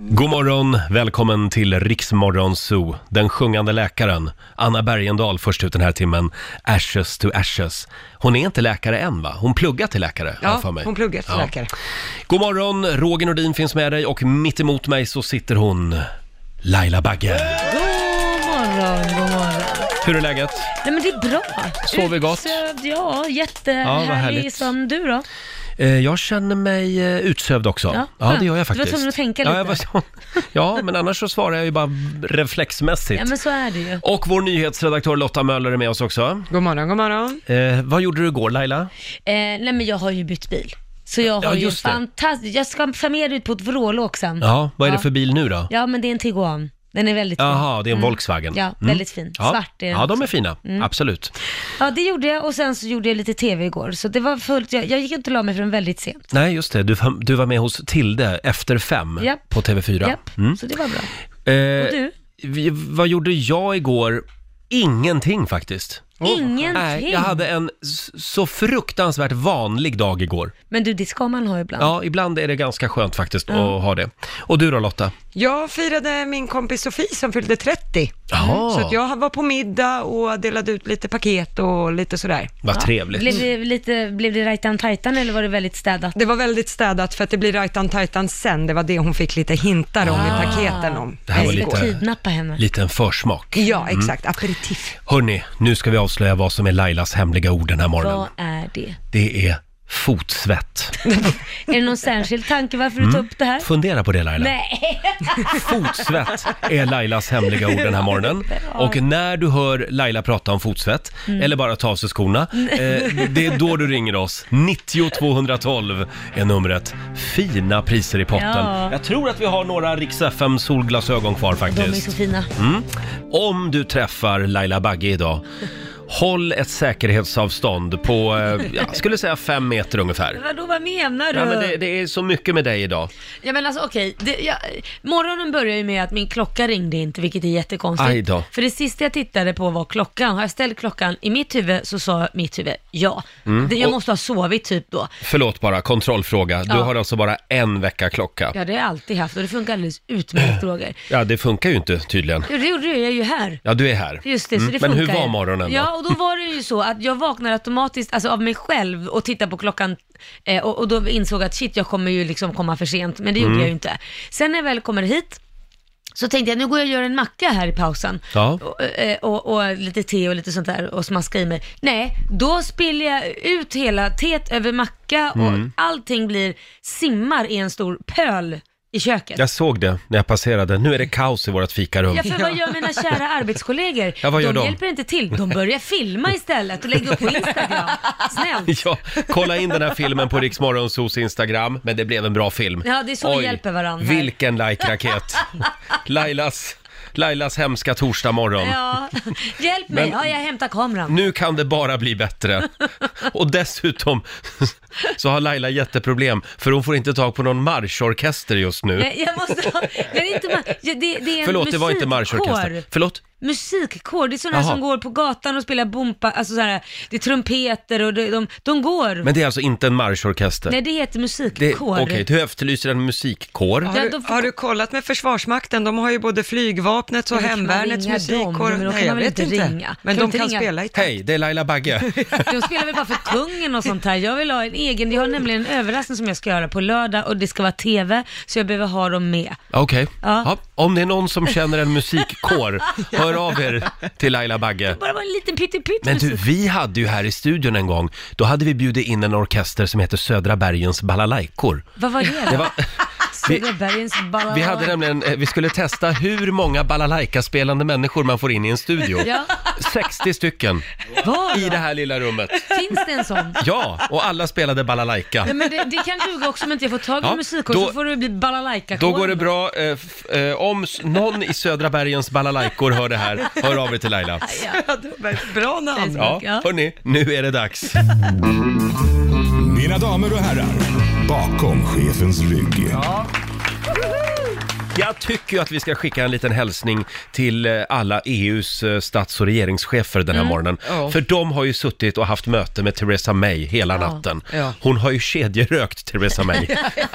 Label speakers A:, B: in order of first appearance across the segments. A: God morgon, välkommen till Riksmorgon Zoo. Den sjungande läkaren, Anna Bergendahl, först ut den här timmen. Ashes to ashes. Hon är inte läkare än va? Hon pluggar till läkare, har jag för
B: Ja,
A: mig.
B: hon pluggar till
A: Ja.
B: läkare.
A: God morgon, Roger Nordin finns med dig och mitt emot mig så sitter hon, Laila Bagge.
C: God morgon, god morgon.
A: Hur är läget?
C: Nej men det är bra.
A: Sover gott?
C: Utsövd, ja,
A: Ja, vad
C: jättehärlig
A: härligt.
C: som du då.
A: Eh, Jag känner mig eh, utsövd också. Ja,
C: Ja,
A: det gör jag
C: skönt. Du var
A: faktiskt.
C: tvungen att tänka
A: Ja, jag
C: lite.
A: var, ja, men annars så svarar jag ju bara reflexmässigt.
C: Ja men så är det ju.
A: Och vår nyhetsredaktör Lotta Möller är med oss också.
B: God morgon, god morgon.
A: Eh, vad gjorde du igår Laila?
C: Eh, nej men jag har ju bytt bil. Så jag
A: Ja,
C: har ju
A: just det.
C: fantastiskt, jag ska ta med dig ut på ett vrålåk sen.
A: Ja, vad är det
C: Ja.
A: för bil nu då?
C: Ja men det är en Tiguan. Den är väldigt fin. Mm.
A: Jaha, det är en Volkswagen. Mm.
C: Ja, väldigt fin.
A: Ja.
C: Svart är den
A: Ja, de är
C: också. Mm.
A: fina. Absolut.
C: Ja det gjorde jag och sen så gjorde jag lite tv igår. Så det var fullt, jag, jag gick inte och la mig förrän väldigt sent.
A: Nej, just det. Du, var- du var med hos Tilde efter fem
C: Japp.
A: på TV4.
C: Japp, så det var bra.
A: Eh,
C: Och du?
A: vi- Vad gjorde jag igår? Ingenting faktiskt.
C: Ingenting.
A: Nej, jag hade en s- så fruktansvärt vanlig dag igår.
C: Men du, det ska man ha ibland.
A: Ja, ibland är det ganska skönt faktiskt att ha det. Och du då Lotta?
B: Jag firade min kompis Sofie som fyllde 30.
A: Ja.
B: Så att jag var på middag och delade ut lite paket och lite sådär.
A: Vad trevligt.
C: Blev det, lite, blev det right on titan eller var det väldigt städat?
B: Det var väldigt städat för att det blir right on titan sen. Det var det hon fick lite hintar om i paketen om.
A: Ah. Det här var
C: jag ska
A: lite, Mm.
C: kidnappa henne.
A: liten försmak.
B: Ja, exakt. Aperitif.
A: Hörni, nu ska vi avslöja vad som är Lailas hemliga ord den här morgonen.
C: Vad är det?
A: Det är fotsvett.
C: Är det någon särskild tanke varför
A: Mm.
C: du tar upp det här?
A: Fundera på det Laila.
C: Nej,
A: Fotsvett är Lailas hemliga ord den här morgonen. Och när du hör Laila prata om fotsvett,
C: Mm.
A: eller bara ta av sig skorna, eh, det är då du ringer oss. 90 212 är numret. Fina priser i potten.
C: Ja.
A: Jag tror att vi har några Rix FM solglasögon kvar
C: de är så
A: faktiskt. Mm.
C: fina.
A: Om du träffar Laila Bagge idag, håll ett säkerhetsavstånd på, eh, jag skulle säga fem meter ungefär.
C: Vadå, vad menar du?
A: Ja, men det, det är så mycket med dig idag.
C: Ja, men alltså, okej. Det- jag- Morgonen börjar ju med att min klocka ringde inte, vilket är jättekonstigt.
A: Aj då.
C: För det sista jag tittade på var klockan. Har jag ställt klockan i mitt huvud så sa mitt huvud ja. Det, jag
A: Mm. och-
C: måste ha sovit typ då.
A: Förlåt bara, kontrollfråga. Du
C: Ja.
A: har alltså bara en vecka klocka.
C: Ja, det har jag alltid haft och det funkar alldeles utmärkt, Roger.
A: Ja, det funkar ju inte tydligen.
C: Jo, det gjorde det. Jag är ju här.
A: Ja, du är här.
C: Just det,
A: Mm.
C: så det
A: Men
C: funkar
A: hur var
C: ju.
A: morgonen då?
C: Ja, och då var det ju så att jag vaknade automatiskt alltså av mig själv och tittade på klockan eh, och, och då insåg att shit, jag kommer ju liksom komma för sent, men det
A: Mm.
C: gjorde jag ju inte. Sen när jag väl kommer hit så tänkte jag, nu går jag och gör en macka här i pausen.
A: Ja.
C: Och, eh, och, och lite te och lite sånt där och smaska i mig. Nej, då spiller jag ut hela teet över macka och
A: Mm.
C: allting blir, simmar i en stor pöl i köket.
A: Jag såg det när jag passerade. Nu är det kaos i vårt fikarum.
C: Ja, för vad gör mina kära arbetskollegor?
A: Ja, vad gör de?
C: de hjälper inte till. De börjar filma istället och lägga upp på Instagram. Snällt.
A: Ja, kolla in den här filmen på Rix Morgonzos Instagram, men det blev en bra film.
C: Ja, det är så vi hjälper varandra.
A: Vilken like-raket. Lailas, Lailas hemska torsdag morgon.
C: Ja, hjälp mig.
A: Men-
C: Ja, jag hämtar kameran.
A: Nu kan det bara bli bättre. Och dessutom så har Laila jätteproblem, för hon får inte tag på någon marschorkester just nu.
C: Nej, jag måste ha... Nej, det är inte ma- ja, det, det är en
A: Förlåt, det var inte
C: musikkår.
A: marschorkester. Förlåt?
C: Musikkår, det är sådana här
A: Jaha.
C: som går på gatan och spelar bompa, alltså såhär, det är trumpeter och de, de, de går.
A: Men det är alltså inte en marschorkester?
C: Nej, det heter
A: Det-
C: musikkår.
A: Okej, du efterlyser en musikkår.
B: Har,
C: Ja,
B: du,
C: då-
B: har du kollat med Försvarsmakten? De har ju både flygvapnets och
C: Men då kan man
B: hemvärnets
C: ringa
B: musikkår.
C: dem, men då kan
B: Nej, jag
C: man väl
B: vet
C: inte
B: inte.
C: ringa.
B: Men
C: Kan
B: de
C: inte
B: kan
C: ringa-
B: spela i takt.
A: Hej, det är Laila Bagge.
C: De spelar väl bara för kungen och sånt här. Jag vill ha en egen, jag har nämligen en överraskning som jag ska göra på lördag och det ska vara TV, så jag behöver ha dem med.
A: Okej. Ja.
C: Ja.
A: om det är någon som känner en musikkår, hör av er till Laila Bagge.
C: Bara vara en liten pyttepytt
A: Men du,
C: musik.
A: vi hade ju här i studion en gång, då hade vi bjudit in en orkester som heter Södra Bergens balalaikor.
C: Vad var det
A: Det
C: då?
A: var,
C: Söderbergens balalaika.
A: vi hade nämligen, eh, vi skulle testa hur många balalaikaspelande människor man får in i en studio.
C: Ja,
A: 60 stycken
C: var
A: i
C: då?
A: det här lilla rummet.
C: Finns det en sån?
A: Ja, och alla spelade balalaika.
C: Nej, men det, det kan duga också om inte jag får tag i
A: Ja,
C: en musikkår,
A: då-
C: så får det bli balalaika
A: Då går det bra. Eh, f- eh, om s- någon i Södra Bergens balalaikor hör det här, hör av er till Laila.
B: Ja, det var ett Bra namn.
A: Ja,
C: Ja.
A: hörni, nu är det dags.
D: Mina damer och herrar, bakom chefens rygg.
A: Jag tycker ju att vi ska skicka en liten hälsning till eh, alla EUs eh, stats och regeringschefer den här morgonen.
D: Mm. Ja.
A: För de har ju suttit och haft möte med Theresa May hela natten.
D: Ja.
A: Hon har ju kedjerökt Theresa May.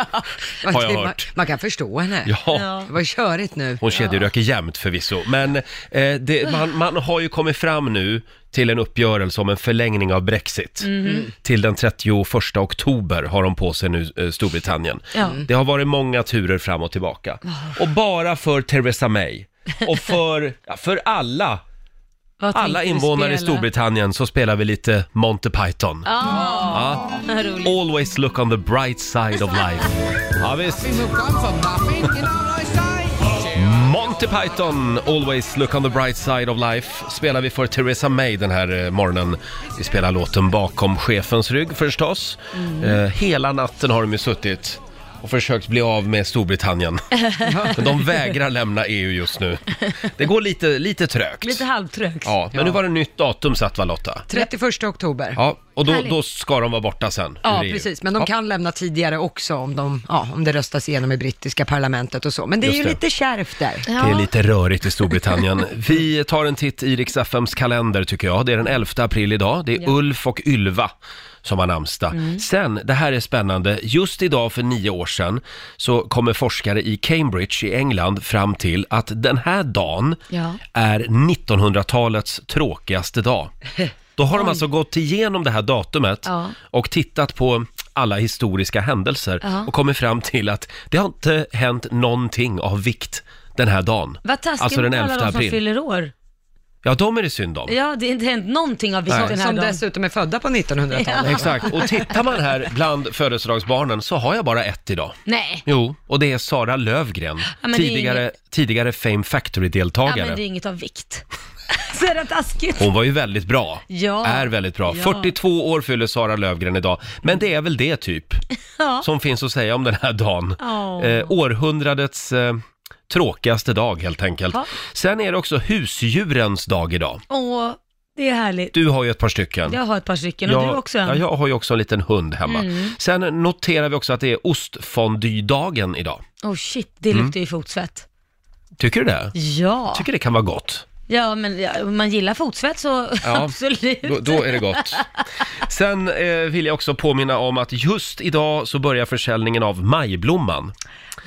D: Man,
A: Har jag
D: man,
A: hört.
D: man kan förstå henne.
A: Ja.
D: Det var körigt nu.
A: Hon kedjeröker jämt förvisso, men eh, det, man, man har ju kommit fram nu till en uppgörelse om en förlängning av Brexit.
D: Mhm.
A: Till den 31 oktober har de på sig nu, eh, Storbritannien.
C: Ja.
A: Det har varit många turer fram och tillbaka. Och bara för Theresa May och för, ja, för alla,
C: Vad
A: alla
C: tänkte du
A: invånare i
C: spela?
A: Storbritannien så spelar vi lite Monty Python.
C: Ja,
A: Ja.
C: vad roligt.
A: Always look on the bright side of life. Ja, visst. Monty Python, Always look on the bright side of life spelar vi för Theresa May den här eh, morgonen. Vi spelar låten bakom chefens rygg förstås.
C: Mm.
A: Eh, hela natten har de ju suttit och försökt bli av med Storbritannien. Men de vägrar lämna EU just nu. Det går lite, lite trögt.
C: Lite halvtrögt.
A: Ja, men nu var det nytt datum satt va Lotta?
D: 31 oktober. Ja,
A: Ja, och då,
C: Härligt.
A: då ska de vara borta sen. ur EU.
D: precis. Men de
A: Ja.
D: kan lämna tidigare också om, de, ja, om det röstas igenom i brittiska parlamentet och så. Men det är
A: Just
D: ju
A: det.
D: lite kärvt där.
A: Det är lite rörigt i Storbritannien. Vi tar en titt i Rix FMs kalender tycker jag. Det är den 11 april idag. Det är Ulf och Ylva som har namnsdag. Sen, det här är spännande, just idag för nio år sedan så kommer forskare i Cambridge i England fram till att den här dagen
C: Ja.
A: är 1900-talets tråkigaste dag. Då har de alltså gått igenom det här datumet
C: Ja.
A: och tittat på alla historiska händelser
C: Ja.
A: och kommit fram till att det har inte hänt någonting av vikt den här dagen.
C: Vad taskigt
A: Alltså den
C: mot alla
A: 11
C: de som
A: april.
C: fyller år.
A: Ja, de är det synd om.
C: Ja, det har inte hänt någonting av vikt
A: Nej.
C: den här
D: Som
C: dagen.
D: dessutom är födda på 1900-talet.
A: Exakt, och tittar man här bland födelsedagsbarnen så har jag bara ett idag.
C: Nej.
A: Jo, och det är Sara Lövgren,
C: Ja, men det är
A: tidigare, tidigare Fame
C: Ja,
A: Factory-deltagare.
C: men det är inget av vikt. Så är det taskigt.
A: Hon var ju väldigt bra.
C: Ja.
A: Är väldigt bra.
C: Ja.
A: 42 år fyller Sara Lövgren idag. Men det är väl det typ
C: Ja.
A: som finns att säga om den här dagen.
C: Ja.
A: Eh, århundradets eh, tråkigaste dag helt enkelt.
C: Ja.
A: Sen är det också husdjurens dag idag.
C: Åh, det är härligt.
A: Du har ju ett par stycken.
C: Jag har ett par stycken och
A: Jag-
C: du också
A: Ja,
C: en. Mm.
A: jag har ju också en liten hund hemma. Sen noterar vi också att det är ostfondydagen idag.
C: Åh shit, det
A: Mm.
C: luktar ju fotsvett.
A: Tycker du det?
C: Ja,
A: Tycker det kan vara gott.
C: ja men ja, om man gillar fotsvett så
A: Ja.
C: absolut.
A: Då, då är det gott. Sen eh, vill jag också påminna om att just idag så börjar försäljningen av majblomman.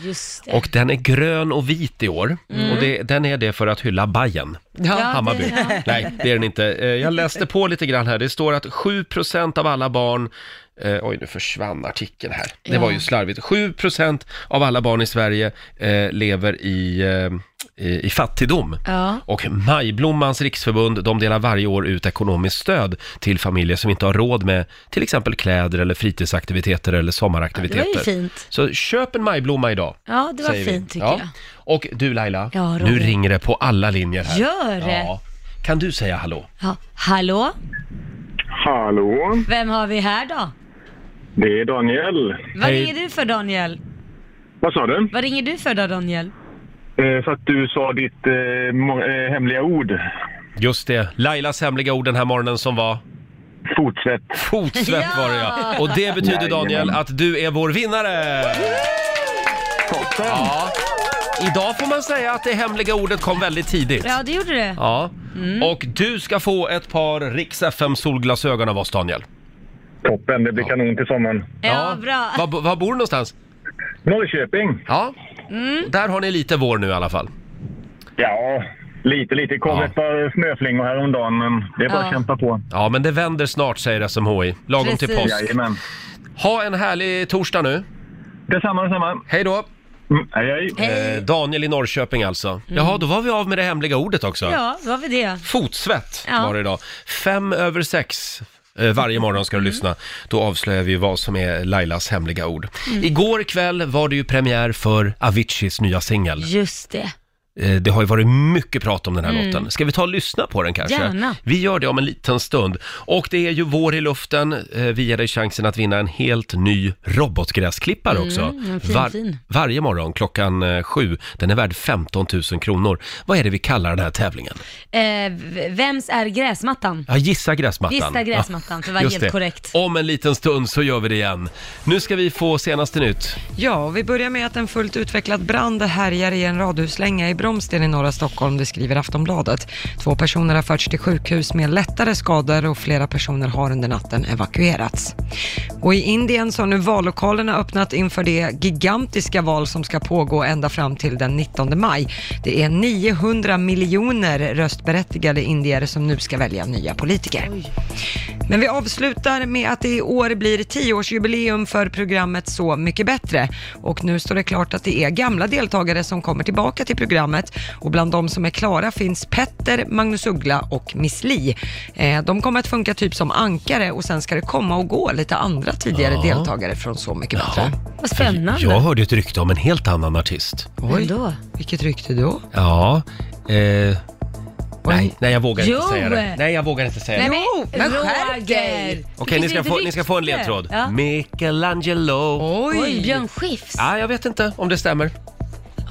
C: Just det. Mm.
A: Och den är grön och vit i år. Och det, den är det för att hylla Bajen.
C: Ja.
A: Hammarby.
C: det- ja.
A: Nej, det är den inte. Eh, Jag läste på lite grann här. Det står att 7% av alla barn Eh, oj, nu försvann artikeln här. Det var ju slarvigt. 7% av alla barn i Sverige eh, lever i, eh, i, i fattigdom.
C: Ja.
A: Och Majblommans riksförbund, de delar varje år ut ekonomiskt stöd till familjer som inte har råd med till exempel kläder eller fritidsaktiviteter eller sommaraktiviteter.
C: Ja, det var ju fint.
A: Så köp en majblomma idag.
C: Ja, det var
A: säger vi.
C: fint tycker
A: Ja.
C: jag.
A: Och du Laila,
C: Ja, Roger.
A: nu ringer det på alla linjer här.
C: Gör det?
A: Ja. Kan du säga hallå?
C: Ja. Hallå,
E: Hallå,
C: vem har vi här då?
E: det är Daniel.
C: Vad
A: Hej.
C: ringer du för Daniel?
E: Vad sa du?
C: Vad ringer du för då Daniel?
E: Eh, för att du sa ditt eh, må- eh, hemliga ord.
A: Just det, Lailas hemliga ord den här morgonen som var
E: Fortsätt.
A: fotsvett var det ja. Och det betyder Daniel
E: Jajamän.
A: att du är vår vinnare!
E: Toppen!
A: Idag får man säga att det hemliga ordet kom väldigt tidigt.
C: Ja, Mm. det gjorde det.
A: Ja, och du ska få ett par Rix FM solglasögon av oss Daniel.
E: Toppen, det blir kanon till sommaren.
C: Ja, bra.
A: Var, var bor du någonstans?
E: Norrköping?
A: Ja, där har ni lite vår nu i alla fall.
E: Ja, lite lite. kom
A: Ja.
E: ett par snöflingor häromdagen, men det är bara
C: Ja.
E: att kämpa på.
A: Ja, men det vänder snart säger SMHI, lagom till
C: Precis.
A: påsk.
E: Jajamän.
A: Ha en härlig torsdag nu.
E: Detsamma, detsamma.
A: Hej då!
E: Mm, hej, hej.
C: Hej. Mm.
A: Eh, Daniel i Norrköping alltså. Jaha, då var vi av med det hemliga ordet också.
C: Ja, då har vi det.
A: Fotsvett
C: Ja.
A: var det idag. Fem över sex eh, varje morgon
C: Mm.
A: ska du lyssna. Då avslöjar vi vad som är Lailas
C: Mm.
A: hemliga ord. Igår kväll var det ju premiär för Aviciis nya singel.
C: Just det.
A: Eh, Det har ju varit mycket prat om den här låten. Ska vi ta och lyssna på den kanske?
C: Mm. Gärna.
A: Vi gör det om en liten stund. Och det är ju vår i luften. Eh, Vi ger dig chansen att vinna en helt ny robotgräsklippare också.
C: Mm, en fin, fin.
A: Varje morgon klockan eh, sju. Den är värd 15 000 kronor. Vad är det vi kallar den här tävlingen?
C: Eh, v- vems är gräsmattan?
A: Ja, gissa gräsmattan.
C: Gissa gräsmattan, för att vara
A: just
C: helt
A: det.
C: korrekt.
A: Om en liten stund så gör vi det igen. Nu ska vi få senaste nytt.
B: Ja, och vi börjar med att en fullt utvecklad brand härjar i en radhuslänga i Bromsten i norra Stockholm, det skriver Aftonbladet. Två personer har förts till sjukhus med lättare skador och flera personer har under natten evakuerats. Och i Indien så har nu vallokalerna öppnat inför det gigantiska val som ska pågå ända fram till den 19 maj. Det är 900 miljoner röstberättigade indier som nu ska välja nya politiker. Men vi avslutar med att det i år blir tioårsjubileum för programmet Så mycket bättre. Och nu står det klart att det är gamla deltagare som kommer tillbaka till programmet. Och bland de som är klara finns Petter, Magnus Uggla och Miss Li. Eh, de kommer att funka typ som ankare och sen ska det komma och gå lite andra tidigare
A: Ja.
B: deltagare från Så mycket bättre.
C: Vad spännande.
A: Jag hörde ett rykte om en helt annan artist.
C: Vem då?
B: vilket rykte då?
A: Ja, eh, nej,
B: Oj.
A: nej jag vågar
C: Jo.
A: inte säga det. Nej jag vågar inte säga det.
C: Jo,
B: men skärp dig.
A: Okej, ni ska, få, ni ska få en ledtråd.
C: Ja.
A: Michelangelo.
C: Oj, Björn Skifs.
A: Ja, jag vet inte om det stämmer.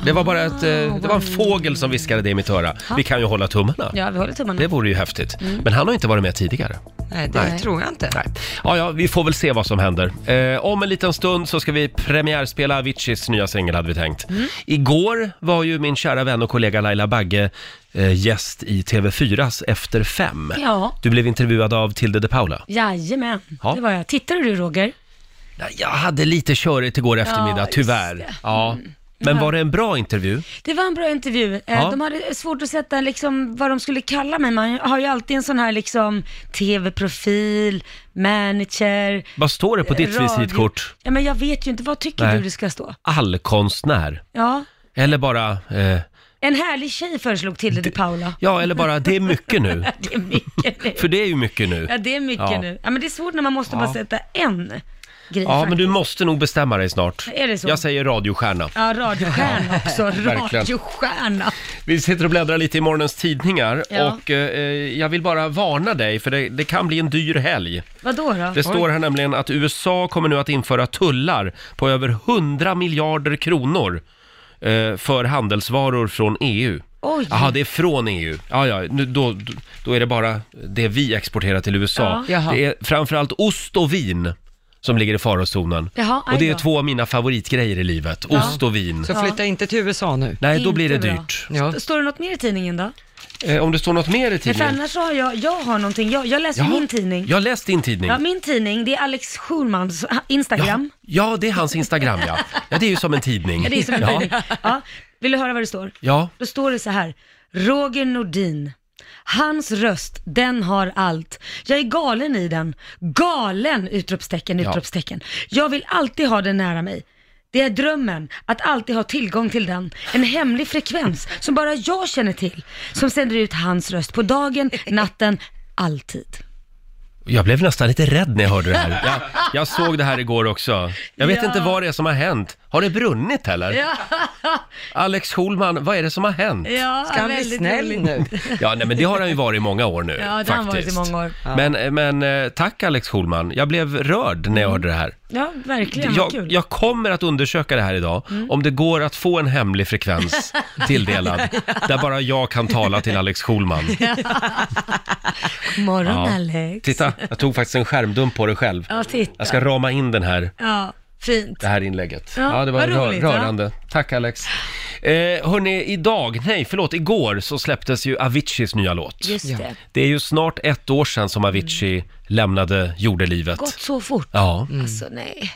A: Det var bara ett, eh, det var en fågel som viskade det i mitt öra. Vi kan ju hålla tummarna.
C: Ah. Ja, vi håller tummarna. Mm.
A: Det vore ju häftigt. Men han har inte varit med tidigare.
B: Nej, det
C: Nej.
B: tror jag inte.
A: Nej. Ja, ja, vi får väl se vad som händer. Eh, om en liten stund så ska vi premiärspela Aviciis nya singel hade vi tänkt.
C: Mm.
A: Igår var ju min kära vän och kollega Laila Bagge eh, gäst i TV4s Efter fem.
C: Ja.
A: Du blev intervjuad av Tilde de Paula.
C: Jajamän,
A: Ja.
C: det var jag. Tittade du Roger?
A: Ja, Jag hade lite körigt igår eftermiddag,
C: just Mm.
A: tyvärr. Ja. Men var det en bra intervju?
C: Det var en bra intervju. Eh,
A: Ja.
C: De hade svårt att sätta liksom, vad de skulle kalla mig. Man har ju alltid en sån här liksom, tv-profil, manager.
A: Vad står det på ditt
C: radio-
A: visitkort?
C: Ja, men jag vet ju inte. Vad tycker
A: Nej.
C: du det ska stå?
A: Allkonstnär.
C: Ja.
A: Eller bara, eh,
C: En härlig tjej föreslog till det till Paula.
A: ja eller bara, det är mycket nu.
C: Det är mycket nu.
A: För det är ju mycket nu.
C: Ja, det är mycket
A: Ja.
C: nu. Ja, men det är svårt när man måste bara sätta en grej
A: Ja,
C: faktiskt.
A: men du måste nog bestämma dig snart.
C: Är det så?
A: Jag säger radiostjärna.
C: Ja, radiostjärna också.
A: verkligen.
C: Radiostjärna.
A: Vi sitter och bläddrar lite i morgonens tidningar
C: Ja.
A: och eh, jag vill bara varna dig för det, det kan bli en dyr helg.
C: Vadå då?
A: Det står här nämligen att USA kommer nu att införa tullar på över 100 miljarder kronor eh, för handelsvaror från E EU.
C: Oj.
A: Jaha, det är från E EU. Ja, ja, nu, då, då är det bara det vi exporterar till USA.
B: Ja. Jaha.
A: Det är framförallt ost och vin som ligger i farozonen.
C: Jaha, aj
A: och det är
C: då.
A: två av mina favoritgrejer i livet, ost och vin.
B: Så flytta inte till USA nu.
A: Nej, då
C: Inte
A: blir det
C: bra.
A: dyrt.
B: Ja.
C: Står det något mer i tidningen då?
A: Eh, om det står något mer i
C: Men för
A: tidningen?
C: annars så har jag, jag har någonting, jag, jag läser
A: Jaha,
C: min tidning.
A: Jag har läst din tidning.
C: Ja, min tidning, det är Alex Schulmans Instagram.
A: Ja, det är hans Instagram ja. Ja, det är ju som en tidning.
C: Ja. Det är som en
A: ja.
C: tidning. Ja. Vill du höra vad det står?
A: Ja,
C: Då står det så här, Roger Nordin. Hans röst, den har allt. Jag är galen i den. Galen! Utropstecken, utropstecken. Jag vill alltid ha den nära mig. Det är drömmen, att alltid ha tillgång till den. En hemlig frekvens som bara jag känner till. Som sänder ut hans röst på dagen, natten, alltid.
A: jag blev nästan lite rädd när jag hörde det här. Jag, jag såg det här igår också. Jag vet
C: Ja.
A: inte vad det är som har hänt. Har det brunnit eller? Alex Schulman, vad är det som har hänt?
C: Ja,
B: Ska han bli snäll nu?
A: Ja, nej men det har han ju varit i många år nu
C: Ja, det har han
A: Eh, faktiskt.
C: varit i många år.
A: Men, men eh, tack Alex Schulman. Jag blev rörd när jag hörde det här.
C: Mm. Ja, verkligen. vad
A: Jag,
C: kul. Mm.
A: jag kommer att undersöka det här idag, om det går att få en hemlig frekvens tilldelad, där bara jag kan tala till Alex Schulman.
C: God morgon,
A: Ja.
C: Alex.
A: Titta, jag tog faktiskt en skärmdump på det själv.
C: Ja, titta.
A: Jag ska rama in den här,
C: Ja, fint.
A: det här inlägget. Ja,
C: Ja,
A: det var
C: vad
A: rör,
C: roligt,
A: rörande. Tack Alex. Eh, hörni, idag, nej förlåt, igår så släpptes ju Aviciis nya låt.
C: Just det. Mm.
A: Det är ju snart ett år sedan som Avicii lämnade jordelivet.
C: Gått så fort.
A: Ja,
C: Alltså nej.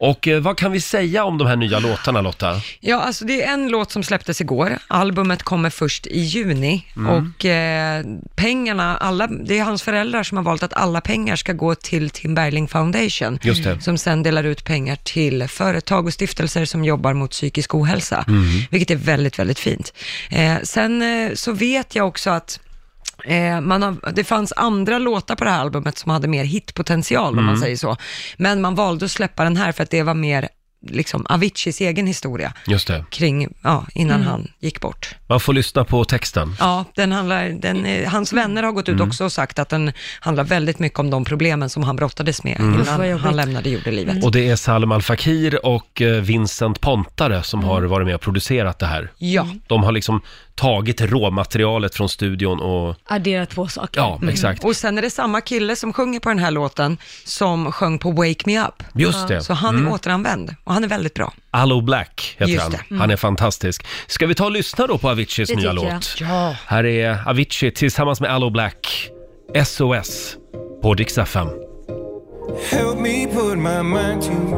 A: och eh, vad kan vi säga om de här nya låtarna Lotta?
B: Ja, alltså det är en låt som släpptes igår. Albumet kommer först i juni
A: Mm.
B: och eh, pengarna, alla, det är hans föräldrar som har valt att alla pengar ska gå till Tim Bergling Foundation,
A: Just det.
B: som sen delar ut pengar till företag och stiftelser som jobbar mot psykisk ohälsa,
A: Mm.
B: vilket är väldigt, väldigt fint. Eh, sen eh, så vet jag också att Eh, man har, det fanns andra låtar på det här albumet som hade mer hitpotential om
A: Mm.
B: man säger så. Men man valde att släppa den här för att det var mer liksom Aviciis egen historia
A: Just det.
B: kring, ja, innan han gick bort.
A: Man får lyssna på texten.
B: Mm. Ja, den handlar, den, eh, hans
A: Mm.
B: vänner har gått ut också och sagt att den handlar väldigt mycket om de problemen som han brottades med
C: Usch, vad
B: innan
C: jobbigt.
B: han lämnade jordelivet.
A: Mm.
C: Mm.
A: Och det är Salem Al Fakir och eh, Vincent Pontare som har
C: Mm.
A: varit med och producerat det här.
B: Ja,
A: De har liksom tagit råmaterialet från studion och...
C: Adderat två saker. Mm.
A: Ja, exakt.
B: och sen är det samma kille som sjunger på den här låten som sjöng på Wake Me Up.
A: Just det. Mm.
B: Så han är återanvänd och han är väldigt bra.
A: Allo Black heter
B: Just
A: han.
B: det. Mm.
A: Han är fantastisk. Ska vi ta och lyssna då på Aviciis
C: Det
A: nya
C: tycker jag.
A: låt? Här är Avicii tillsammans med Allo Black. SOS på Dix FM.
F: Help me put my mind to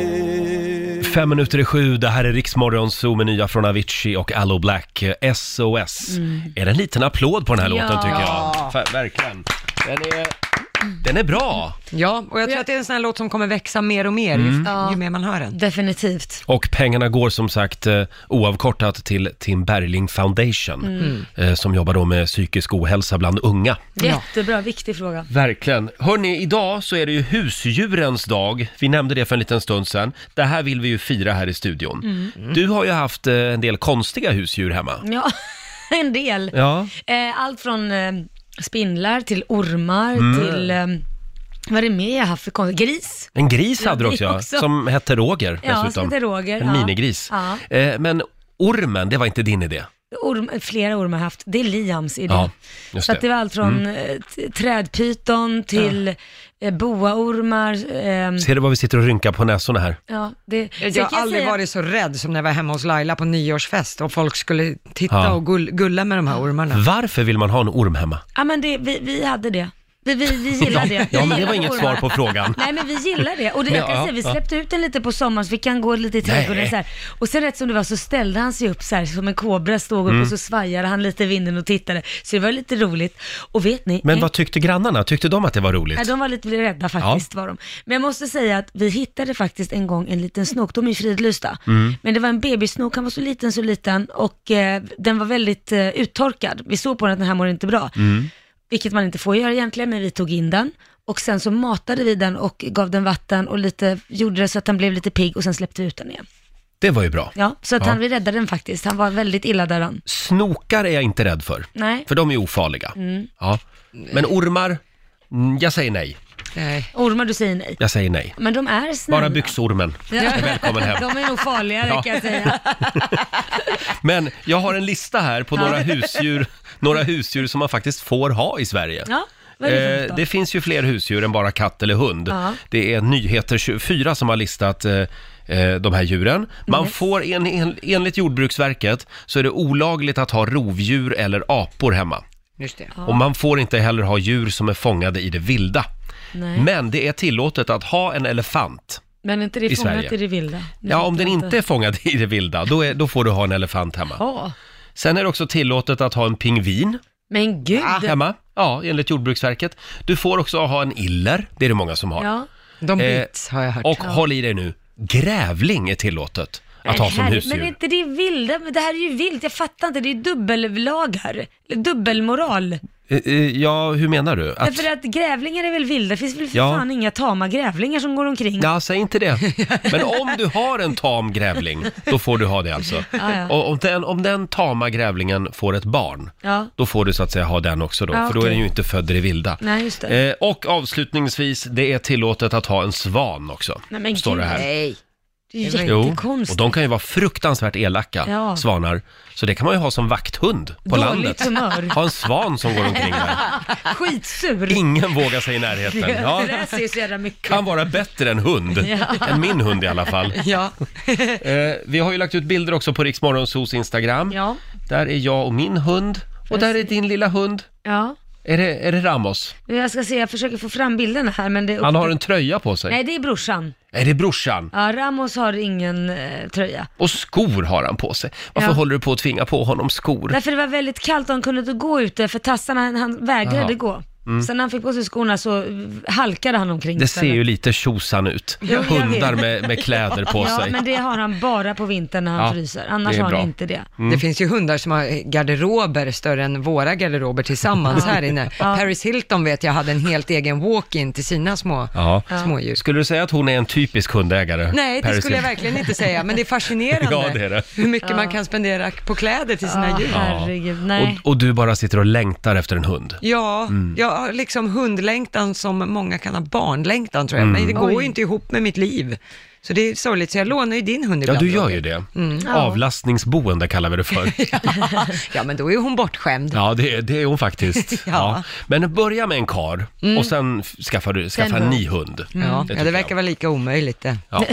F: it.
A: Fem minuter i sju, det här är Riksmorgon Zoo med nya från Avicii och Allo Black, eh, SOS.
B: Mm.
A: Är det en liten applåd på den här
C: Ja.
A: låten tycker jag? Fa- verkligen. Den är, den är bra!
B: Ja, och jag tror att det är en sån här låt som kommer växa mer och mer
A: Mm.
B: ju, ju mer man hör den.
C: Definitivt.
A: Och pengarna går som sagt eh, oavkortat till Tim Bergling Foundation
B: Mm.
A: eh, som jobbar då med psykisk ohälsa bland unga.
C: Jättebra, viktig fråga.
A: Verkligen. Hörni, idag så är det ju husdjurens dag. Vi nämnde det för en liten stund sedan. Det här vill vi ju fira här i studion.
C: Mm.
A: Du har ju haft eh, en del konstiga husdjur hemma.
C: Ja, en del.
A: Ja.
C: Eh, allt från eh, spindlar till ormar
A: Mm.
C: till, eh, vad är det mer jag har haft för konstigt? Gris.
A: En gris
C: Ja,
A: hade du
C: det
A: också, ja,
C: också.
A: som hette Roger
C: Ja, som
A: dessutom.
C: hette Roger,
A: En
C: ja.
A: minigris.
C: Ja.
A: Eh, Men ormen, det var inte din idé.
C: Orm, flera ormar har jag haft. Det är Liams idé.
A: Ja, just
C: Så att
A: det.
C: det
A: Mm.
C: var allt från eh, t- trädpyton till eh, boaormar. ehm,
A: Ser du vad vi sitter och rynkar på näsorna här?
C: ja, det, Sen
B: Jag
C: kan
B: har aldrig
C: säga-
B: varit så rädd som när jag var hemma hos Laila på nyårsfest och folk skulle titta
A: Ja.
B: och gull, gulla med de här
C: Mm.
B: ormarna.
A: Varför vill man ha en orm hemma?
C: Ja, men det, vi, vi hade det. Vi, vi, vi gillar det.
A: Ja,
C: Vi
A: men det var
C: gillar
A: inget
C: ormar.
A: svar på frågan.
C: Nej men vi gillar det. Och det, jag
A: Men, ja,
C: kan säga, vi
A: ja.
C: släppte ut den lite på sommaren så vi kan gå lite i
A: Nej.
C: trädgården så här. Och sen rätt som det var så ställde han sig upp så här som en kobra stod
A: Mm.
C: upp och så svajade han lite i vinden och tittade. Så det var lite roligt. Och vet ni?
A: Men
C: en-
A: vad tyckte grannarna? Tyckte de att det var roligt?
C: Ja, de var lite rädda faktiskt var de. Men jag måste säga att vi hittade faktiskt en gång en liten snok, de är ju fridlysta.
A: Mm.
C: Men det var en bebissnok, han var så liten, så liten och eh, den var väldigt eh, uttorkad. Vi såg på den att den här mår inte bra. Vilket man inte får göra egentligen, men vi tog in den. Och sen så matade vi den och gav den vatten och lite, gjorde det så att den blev lite pigg och sen släppte vi ut den igen.
A: Det var ju bra.
C: Ja, så att
A: Ja.
C: han, vi räddade den faktiskt. Han var väldigt illa däran.
A: Snokar är jag inte rädd för,
C: Nej,
A: för de är ofarliga.
C: Mm.
A: Ja. Men ormar? Mm, Jag säger nej.
B: Nej.
C: ormar du säger nej.
A: Jag säger nej.
C: Men de är snälla.
A: Bara byxormen.
C: Ja.
A: Välkommen hem.
C: De är nog farligare
A: Ja.
C: kan jag säga.
A: Men jag har en lista här på några husdjur, några husdjur som man faktiskt får ha i Sverige.
C: Ja, vad är det för något
A: Eh,
C: då?
A: det finns ju fler husdjur än bara katt eller hund.
C: Ja.
A: Det är Nyheter 24 som har listat eh, eh, de här djuren. Man får, en, en, enligt Jordbruksverket, så är det olagligt att ha rovdjur eller apor hemma.
B: Just det.
A: Och man får inte heller ha djur som är fångade i det vilda.
C: Nej.
A: Men det är tillåtet att ha en elefant.
C: Men är inte det
A: I
C: fångat
A: Sverige.
C: i det vilda? Nu
A: Ja,
C: vet
A: om den
C: jag
A: inte är fångad i det vilda, då, är, då får du ha en elefant hemma.
C: Ja.
A: Sen är det också tillåtet att ha en pingvin Ah,
C: Men gud! Ja.
A: hemma. Ja, enligt Jordbruksverket. Du får också ha en iller, det är det många som har.
B: De
A: Eh,
B: bits har jag hört.
A: Och håll i dig nu, grävling är tillåtet att ha som
C: Herre-
A: husdjur.
C: Men är inte det vilda? Men det här är ju vilt, jag fattar inte. Det är dubbellagar. Eller Dubbelmoral.
A: Eh, eh, Ja, hur menar du? Att...
C: Därför att grävlingar är väl vilda? Det finns väl för
A: Ja.
C: fan inga tama grävlingar som går omkring?
A: Ja, säg inte det. Men om du har en tam grävling, då får du ha det alltså.
C: Ja, ja.
A: Och om den, om den tama grävlingen får ett barn,
C: Ja.
A: då får du så att säga ha den också då,
C: Ja,
A: för då är
C: okej.
A: den ju inte född i det vilda.
C: Nej, just det.
A: Eh, och avslutningsvis, det är tillåtet att ha en svan också,
C: Nej, men
A: står det
C: gud.
A: här.
B: Nej.
C: Det är ju
B: Det
A: Jo,
C: jättekonstigt.
A: och de kan ju vara fruktansvärt elaka,
C: Ja.
A: svanar. Så det kan man ju ha som vakthund på
C: Dåligt
A: landet.
C: humör.
A: Ha en svan som går omkring där.
C: Skitsur!
A: Ingen vågar sig i närheten. Ja,
C: Det där ser ju så jävla mycket.
A: kan vara bättre än hund. Än min hund i alla fall.
B: Ja.
A: Eh, vi har ju lagt ut bilder också på Riksmorgonsos Instagram.
C: Ja.
A: Där är jag och min hund. Och där är din lilla hund.
C: Ja.
A: Är det, är det Ramos?
C: Jag ska se, jag försöker få fram bilderna här men det...
A: Han har en tröja på sig.
C: Nej, det är brorsan.
A: Är det brorsan?
C: Ja, Ramos har ingen eh, tröja.
A: Och skor har han på sig. Varför
C: Ja.
A: håller du på att tvinga på honom skor?
C: Därför det var väldigt kallt och han kunde inte gå ute för tassarna, han, han vägrade
A: Jaha. Mm.
C: gå. Sen när han fick på sig skorna så halkade han omkring
A: Det ser
C: istället.
A: ju lite tjosan ut.
C: jag vet.
A: Hundar med, med kläder på
C: Ja,
A: sig.
C: men det har han bara på vintern när han
A: Ja,
C: fryser.
A: det
C: Annars
A: är
C: har
A: bra. Mm.
C: han inte det.
D: Det finns ju hundar som har garderober större än våra garderober tillsammans här inne. Paris Hilton vet jag hade en helt egen walk-in till sina små
A: Ja.
D: smådjur.
A: Skulle du säga att hon är en typisk hundägare?
D: Nej, det
A: Paris
D: skulle jag
A: Hilton?
D: verkligen inte säga, men det är fascinerande
A: Ja, det är det.
D: hur mycket man kan spendera på kläder till sina
C: Ja,
D: djur.
C: herregud. Nej.
A: Och, och du bara sitter och längtar efter en hund.
D: Ja,
A: Mm.
D: jag har liksom hundlängtan som många kan ha barnlängtan tror jag, men
A: Mm.
D: det går ju inte ihop med mitt liv. Så det är sorgligt, så jag lånar ju din hund
A: Ja,
D: ibland. Mm.
A: du gör
D: Roger.
A: ju det.
B: Mm.
A: Avlastningsboende kallar vi det för.
D: Ja, men då är hon bortskämd.
A: Ja, det, det är hon faktiskt. ja.
D: Ja.
A: Men börja med en kar och sen f- skaffar du skaffa en
C: hund.
A: ny hund.
B: Mm.
D: Mm. Ja,
A: Det
D: det,
A: tycker
D: verkar
A: jag.
D: vara lika omöjligt det.
A: Ja.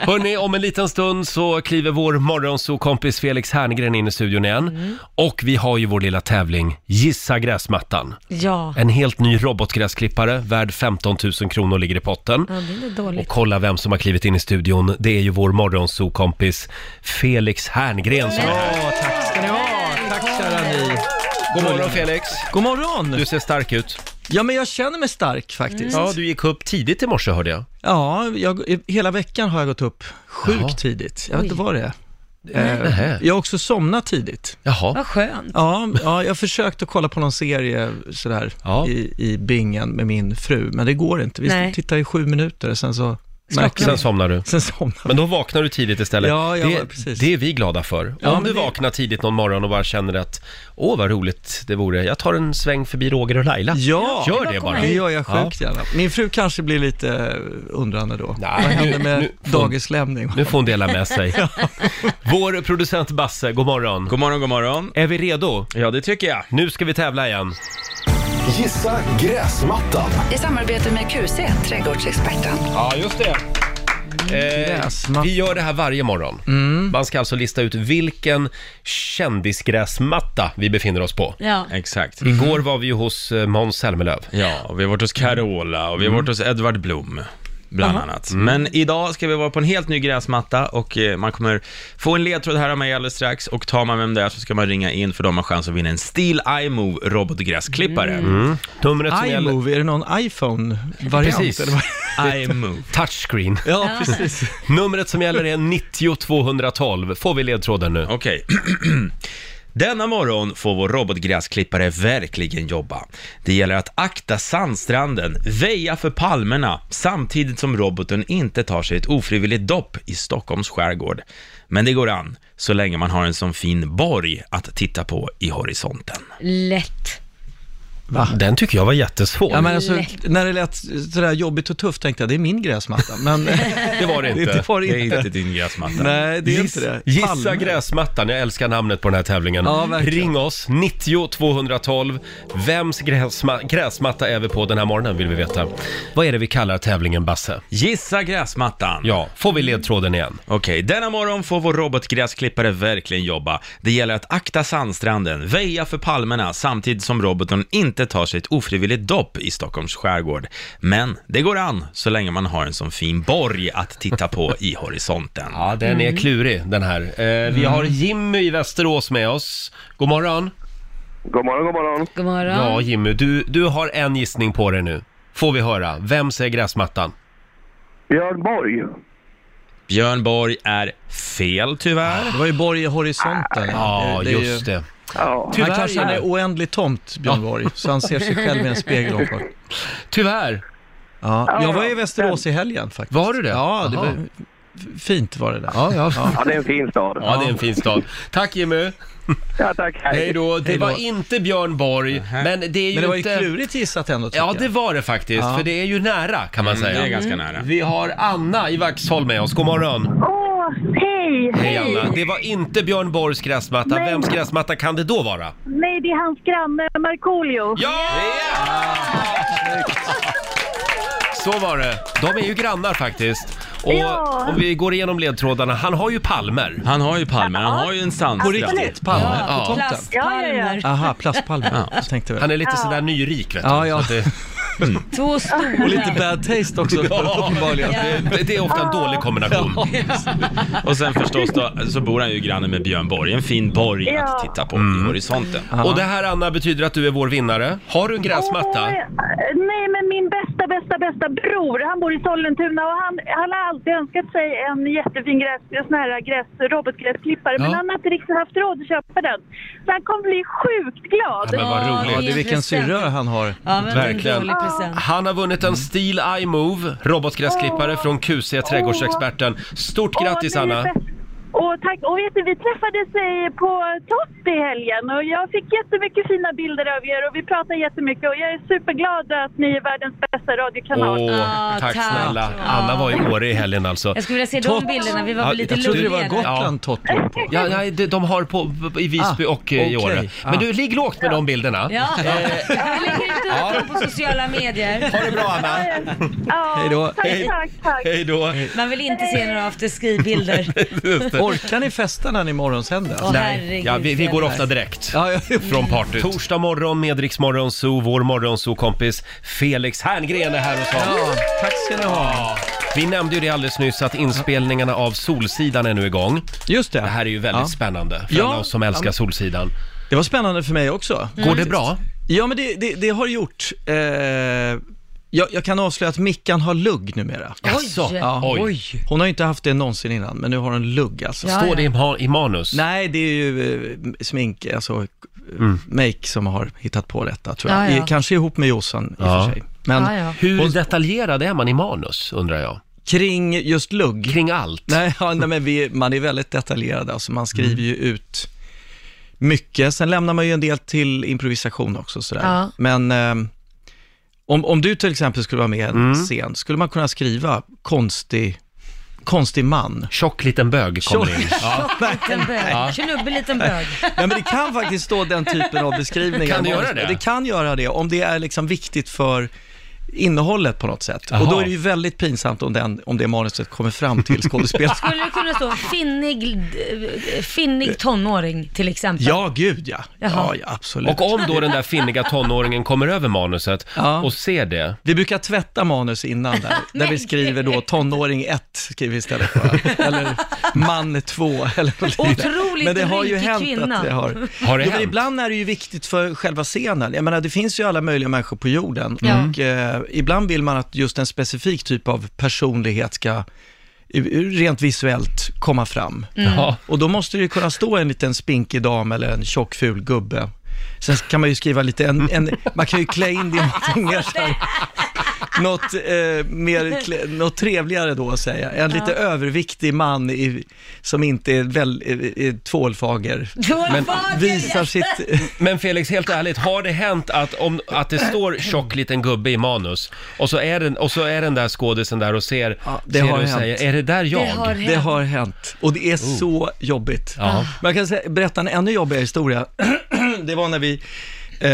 A: Hörni, om en liten stund så kliver vår morgonsokompis Felix Herngren in i studion igen. Och vi har ju vår lilla tävling Gissa gräsmattan.
C: Ja.
A: En helt ny robotgräsklippare värd 15 000 kronor ligger i potten.
C: ja, det är lite
A: Och
C: dåligt.
A: kolla vem som har klivit in i studion. Det är ju vår morgonsokompis Felix Herngren som är här.
G: Tack ska ni ha. Tack kära ni.
A: God morgon Felix!
G: God morgon.
A: Du ser stark ut.
G: Ja, men jag känner mig stark faktiskt.
A: Ja, du gick upp tidigt i morse hörde jag.
G: Ja, jag, hela veckan har jag gått upp sjukt
A: Jaha.
G: tidigt. Jag vet inte vad det är.
A: Nähä.
G: Eh, jag har också somnat tidigt.
A: Jaha.
C: Vad skönt.
G: Ja, ja, jag försökte att kolla på någon serie sådär
A: Ja.
G: i, i bingen med min fru, men det går inte. Vi
C: Nej.
G: tittar i sju minuter och sen så märker
A: Sen
G: jag,
A: somnar du.
G: sen somnar
A: Men då vaknar du tidigt istället.
G: Ja, ja,
A: det,
G: precis.
A: det är vi glada för.
G: Ja,
A: Om
G: men
A: du
G: det-
A: vaknar tidigt någon morgon och bara känner att åh vad roligt det vore, jag tar en sväng förbi Roger och Laila.
G: Ja,
A: Gör det
C: kom
A: bara.
G: det gör jag sjukt gärna. Min fru kanske blir lite eh, undrande då.
A: Nej,
G: vad händer
A: nu-
G: med
A: nu-
G: dagislämning?
A: Nu får hon dela med sig. Vår producent Basse, god morgon.
H: God morgon, god morgon.
A: Är vi redo?
H: Ja, det tycker jag.
A: Nu ska vi tävla igen.
I: Gissa gräsmattan.
J: I samarbete med QC, trädgårdsexperten.
A: Ja, just det.
H: Mm.
G: Gräsmatta.
A: Eh, vi gör det här varje morgon. Man ska alltså lista ut vilken kändisgräsmatta vi befinner oss på.
C: Ja.
H: Exakt. Mm-hmm.
A: Igår var vi ju hos eh, Måns Zelmerlöw. Mm.
H: Ja, och vi har varit hos Carola och vi har varit hos Edvard Blom. Bland annat. Men idag ska vi vara på en helt ny gräsmatta och eh, man kommer få en ledtråd här av mig alldeles strax och tar man vem det är så ska man ringa in för de har chans att vinna en Steel iMove robotgräsklippare.
C: Mm.
A: Numret Mm. som gäller...
G: iMovie, är det någon iPhone-variant?
A: Precis.
G: eller vad?
H: iMove.
A: Touchscreen.
G: Ja, precis.
A: Numret som gäller är 90 212. Får vi ledtråden nu?
H: Okej. Denna morgon får vår robotgräsklippare verkligen jobba. Det gäller att akta sandstranden, väja för palmerna, samtidigt som roboten inte tar sig ett ofrivilligt dopp i Stockholms skärgård. Men det går an, så länge man har en sån fin borg att titta på i horisonten.
C: Lätt.
A: Den tycker jag var jättesvår.
G: Ja, men alltså, när det lät sådär jobbigt och tufft tänkte jag, det är min gräsmatta, men
A: Det var det inte.
G: det var det
H: Det är
G: inte.
H: inte din gräsmatta.
G: Nej, det är
A: Giss-
G: inte det.
A: Gissa
G: Palme.
A: gräsmattan, jag älskar namnet på den här tävlingen.
G: Ja, verkligen.
A: Ring oss, 90 212. Vems gräsma- gräsmatta är vi på den här morgonen vill vi veta. Vad är det vi kallar tävlingen Basse?
H: Gissa gräsmattan.
A: Ja, får vi ledtråden igen?
H: Okej, denna morgon får vår robotgräsklippare verkligen jobba. Det gäller att akta sandstranden, väja för palmerna samtidigt som roboten inte tar sig ett ofrivilligt dopp i Stockholms skärgård. Men det går an så länge man har en sån fin borg att titta på i horisonten.
A: Ja, den
G: Mm.
H: Mm.
A: är klurig den här. Eh, vi har Jimmy i Västerås med oss. God morgon.
E: God morgon, god morgon.
C: God morgon.
A: Ja, Jimmy, du, du har en gissning på dig nu. Får vi höra. Vem säger gräsmattan?
E: Björn Borg.
H: Björn Borg är fel tyvärr.
G: Det var ju Borg i horisonten.
A: Ja,
G: är ju-
A: just det.
E: Ja.
G: Han
A: Tyvärr,
G: kanske är
A: Jimmy.
G: en oändlig tomt, Björn Borg, så han ser sig själv i en spegel ovanpå.
A: Tyvärr.
G: Ja, jag var i Västerås i helgen faktiskt.
A: Var du det?
G: Ja, det
A: Aha.
G: var f- fint var det där.
A: Ja, ja.
E: ja, det är en fin stad.
A: Ja, det är en fin stad. Tack Jimmy!
E: Ja, tack.
A: Hej då! Det
G: Hej då.
A: var inte Björn Borg, men det är ju
G: Men det var ju
A: inte...
G: klurigt gissat ändå, tycker
A: Ja, det
G: jag.
A: var det faktiskt,
G: Ja.
A: för det är ju nära kan man
H: Mm,
A: säga.
H: det är ganska nära.
A: Vi har Anna i Vaxholm med oss, god morgon.
K: Åh, hej!
A: Hej Anna! Det var inte Björn Borgs gräsmatta,
K: Nej.
A: vems gräsmatta kan det då vara?
K: Nej, det är hans granne Markoolio.
A: Ja! Så var det. De är ju grannar faktiskt. Och
K: Ja.
A: om vi går igenom ledtrådarna, han har ju palmer.
H: Han har ju palmer, han har ju en
K: Alltså,
G: På
H: sandstrand.
G: riktigt, Palme på tomten?
C: Plastpalmer.
K: Ja, ja, ja.
G: Aha, plastpalmen. Ja, tänkte väl.
A: Han är lite sådär nyrik vet du.
G: Ja, Mm. ja.
A: Så att det,
C: Två stora.
G: Och lite bad taste också, uppenbarligen.
A: Det, det är ofta en dålig kombination.
H: Och sen förstås då, så bor han ju granne med Björn Borg, en fin borg att titta på i horisonten.
A: Mm. Och det här Anna betyder att du är vår vinnare. Har du en gräsmatta?
K: Eh, Nej, men min bästa, bästa, bästa bror, han bor i Sollentuna och han, han har alltid önskat sig en jättefin gräs, en sån här gräs, robotgräsklippare, men
A: Ja.
K: han har inte riktigt haft råd att köpa den. Så han kommer bli sjukt glad.
A: Ja, men vad
C: Ja,
A: roligt.
C: det är
G: Vilken
C: present.
G: syrra han har.
C: Ja, men
A: Verkligen.
C: Verkligen. present.
A: Han har vunnit en Steel iMove, robotgräsklippare från QC Trädgårdsexperten. Stort grattis
K: Åh, ni är
A: Anna!
K: bäst. Och tack. Och vet du, vi träffades eh, på Topp i helgen och jag fick jättemycket fina bilder av er och vi pratade jättemycket och jag är superglad att ni är världens bästa radiokanal.
A: Åh,
C: Ja,
A: tack
C: tack.
A: snälla! Anna var i Åre i helgen alltså.
C: Jag skulle vilja se de
G: Tot.
C: bilderna, vi var
A: Ja,
C: väl lite
A: jag trodde
G: Det var
C: lulliga.
G: Gotland Tott låg på.
A: Ja, nej, de- de har på, i Visby
G: Ah,
A: och eh,
G: okej.
A: i Åre. Men
G: Ah.
A: du, ligg lågt med de bilderna. Eh,
C: Ja, vi lägger ut dem på sociala medier.
A: Ha det bra Anna!
K: Ja,
G: Hej då.
K: Tack, tack, tack.
A: Hej då!
C: Man vill inte se några afterski-bilder.
A: Just det.
G: Orkar ni festa när ni morgonsänder?
C: Åh,
A: Nej,
C: herregud,
A: ja, vi, vi går
C: Fredrik.
A: ofta direkt.
G: Ja, ja.
A: Från partyt. Torsdag morgon med Rix Morgonzoo, vår morgonzoo-kompis Felix Herngren är här hos oss.
G: ja, tack ska ni ha.
A: Vi nämnde ju det alldeles nyss att inspelningarna av Solsidan är nu igång.
G: Just det.
A: Det här är ju väldigt
G: Ja.
A: spännande för
G: Ja.
A: alla oss som älskar Solsidan.
G: Det var spännande för mig också.
A: Går det bra?
G: Ja, men det, det, det har gjort. Eh, jag, jag kan avslöja att Mickan har lugg numera.
A: Jaså?
G: Ja.
A: Oj!
G: Hon har ju inte haft det någonsin innan, men nu har hon lugg alltså.
C: Ja,
A: Står det i, ma- i manus?
G: Nej, det är ju eh, smink, alltså eh,
A: Mm.
G: make som har hittat på detta tror jag.
C: Ja, ja.
G: I- Kanske ihop med Jossan i och
A: Ja.
G: för sig. Men
C: Ja, ja.
A: Hur detaljerad är man i manus, undrar jag?
G: kring just lugg.
A: Kring allt?
G: Nej, ja, nej men vi, man är väldigt detaljerad alltså. Man skriver ju
A: Mm.
G: ut mycket. Sen lämnar man ju en del till improvisation också sådär.
C: Ja.
G: Men eh, om, om du till exempel skulle vara med i en
A: Mm.
G: scen, skulle man kunna skriva konstig, konstig man?
A: Tjock liten bög kommer in. Ja.
C: Liten bög. Knubbig liten bög.
G: Nej, men det kan faktiskt stå den typen av beskrivningar.
A: Kan det göra det?
G: Det kan göra det, om det är liksom viktigt för innehållet på något sätt.
A: Jaha.
G: Och då är det ju väldigt pinsamt om, den, om det manuset kommer fram till skådespelaren.
C: Skulle det kunna stå finnig, finnig tonåring till exempel?
G: Ja, gud ja.
C: Jaha.
G: Ja, ja, absolut.
A: Och om då den där finniga tonåringen kommer över manuset
G: Ja.
A: och ser det,
G: Vi brukar tvätta manus innan där, där vi skriver då tonåring 1 skriver vi istället för, eller man 2 eller något liknande.
C: Otroligt
G: Men det har ju
C: rynkig
G: hänt
C: kvinna.
G: att det har...
A: har det
G: Jo, men
A: hänt?
G: ibland är det ju viktigt för själva scenen. Jag menar, det finns ju alla möjliga människor på jorden
C: Ja.
G: och eh, ibland vill man att just en specifik typ av personlighet ska eh, rent visuellt komma fram.
C: Mm.
A: Ja.
G: Och då måste det ju kunna stå en liten spinkig dam eller en tjock ful gubbe. Sen kan man ju skriva lite, en, en, man kan ju klä in det i någonting mer så här, något, eh, mer, klä- något trevligare då att säga. En lite överviktig man i, som inte är, väl, är, är tvålfager.
C: Men
G: Visar sitt...
A: Men Felix, helt ärligt, har det hänt att, om, att det står tjock liten gubbe i manus och så är den, och så är den där skådisen där och ser,
G: Ja, det
A: ser
G: har
A: och
G: hänt.
A: säger, är det där jag? Oh.
C: Det har
G: Det
C: hänt. Ah.
G: har hänt och det är så jobbigt.
A: Ja.
G: Men jag kan säga, berätta en ännu jobbigare historia. det var när vi, eh,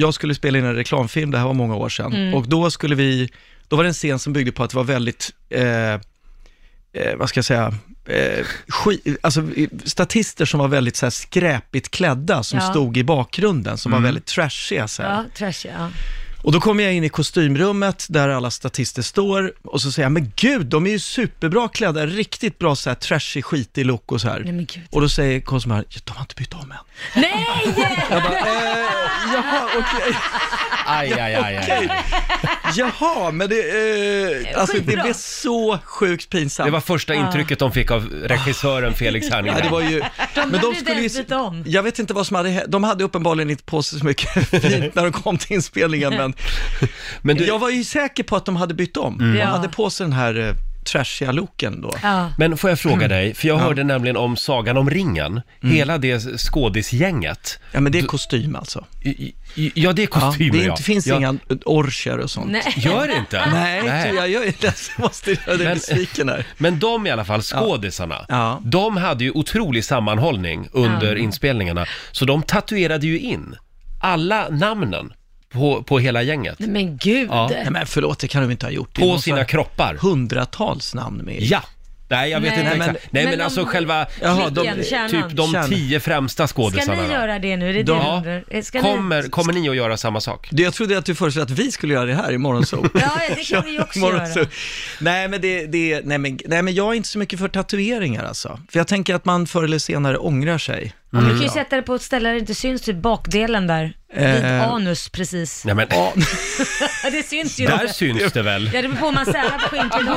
G: jag skulle spela in en reklamfilm, det här var många år sedan,
C: Mm.
G: och då skulle vi, då var det en scen som byggde på att det var väldigt, eh, eh, vad ska jag säga, eh, ski, alltså, eh, statister som var väldigt så här, skräpigt klädda som
C: Ja.
G: stod i bakgrunden, som
A: Mm.
G: var väldigt trashiga. Så här.
C: Ja, trash, ja.
G: Och då kommer jag in i kostymrummet där alla statister står och så säger jag, men gud, de är ju superbra klädda, riktigt bra så här trashig, skitig look och så här.
C: Nej, men gud.
G: och då säger kostymaren, "Ja, de har inte bytt om än.
C: Nej!
G: Jag bara, eh, jaha, okej,
A: Aj, aj, aj, aj.
G: okej. Jaha, men det, eh, alltså det
C: Skitbra.
G: blev så sjukt pinsamt.
A: Det var första intrycket de fick av regissören Felix Herngren.
G: Ja, det var ju... men
C: hade inte ens bytt om.
G: Jag vet inte vad som hade hänt. De hade uppenbarligen inte på sig så mycket fint när de kom till inspelningen, men
A: Men du, Mm.
G: jag var ju säker på att de hade bytt om. De
C: Ja.
G: hade på sig den här eh, trashiga looken då. Mm.
C: Ja.
A: Men får jag fråga dig, för jag hörde nämligen om Sagan om ringen, hela det skådisgänget.
G: Ja, men det är kostym alltså.
A: I- i- Ja, det är
G: Ja, det
A: kostymer
G: är
A: ja.
G: inte, finns
A: ja.
G: inga orcher och sånt.
C: Nej.
A: Gör det inte?
G: Nej, Nej. jag gör inte det. Jag måste göra dig
A: Men-
G: besviken här.
A: Men de i alla fall, skådisarna,
G: Ja.
A: de hade ju otrolig sammanhållning under inspelningarna. Så de tatuerade ju in alla namnen på, på hela gänget.
C: Nej, men gud.
A: Ja.
G: Nej, men förlåt, det kan de inte ha gjort. Det är
A: På
G: någon
A: sina
G: sån här
A: kroppar.
G: Hundratals namn med.
A: Ja, Nej, jag vet
C: Nej.
A: inte
C: Nej, men-
A: exakt. Nej, men,
C: men de-
A: alltså själva...
C: Jaha, de-
A: de,
C: kärnan.
A: typ de
C: Kärnan.
A: tio främsta
C: Ska
A: skådisarna.
C: ni
A: va?
C: göra det nu? Det är det
A: Ja.
C: jag undrar. Eh, Ska ni...
A: Kommer, kommer ni att göra samma sak?
G: Du, jag trodde att du föreslog att vi skulle göra det här i Morgonzoo.
C: Ja, det kan vi ju också
G: Morgonzoo.
C: göra.
G: Nej, men det, det, nej, men, nej, men jag är inte så mycket för tatueringar alltså. För jag tänker att man förr eller senare ångrar sig.
C: Ja, men Du kan ju
A: Mm.
C: sätta det på ett ställe där det inte syns, typ bakdelen där. Vid
G: Eh.
C: anus precis.
A: Nej, men...
C: det syns ju.
A: Där
C: inte.
A: syns det väl?
C: Ja, det beror på om man särar på skinkan. Men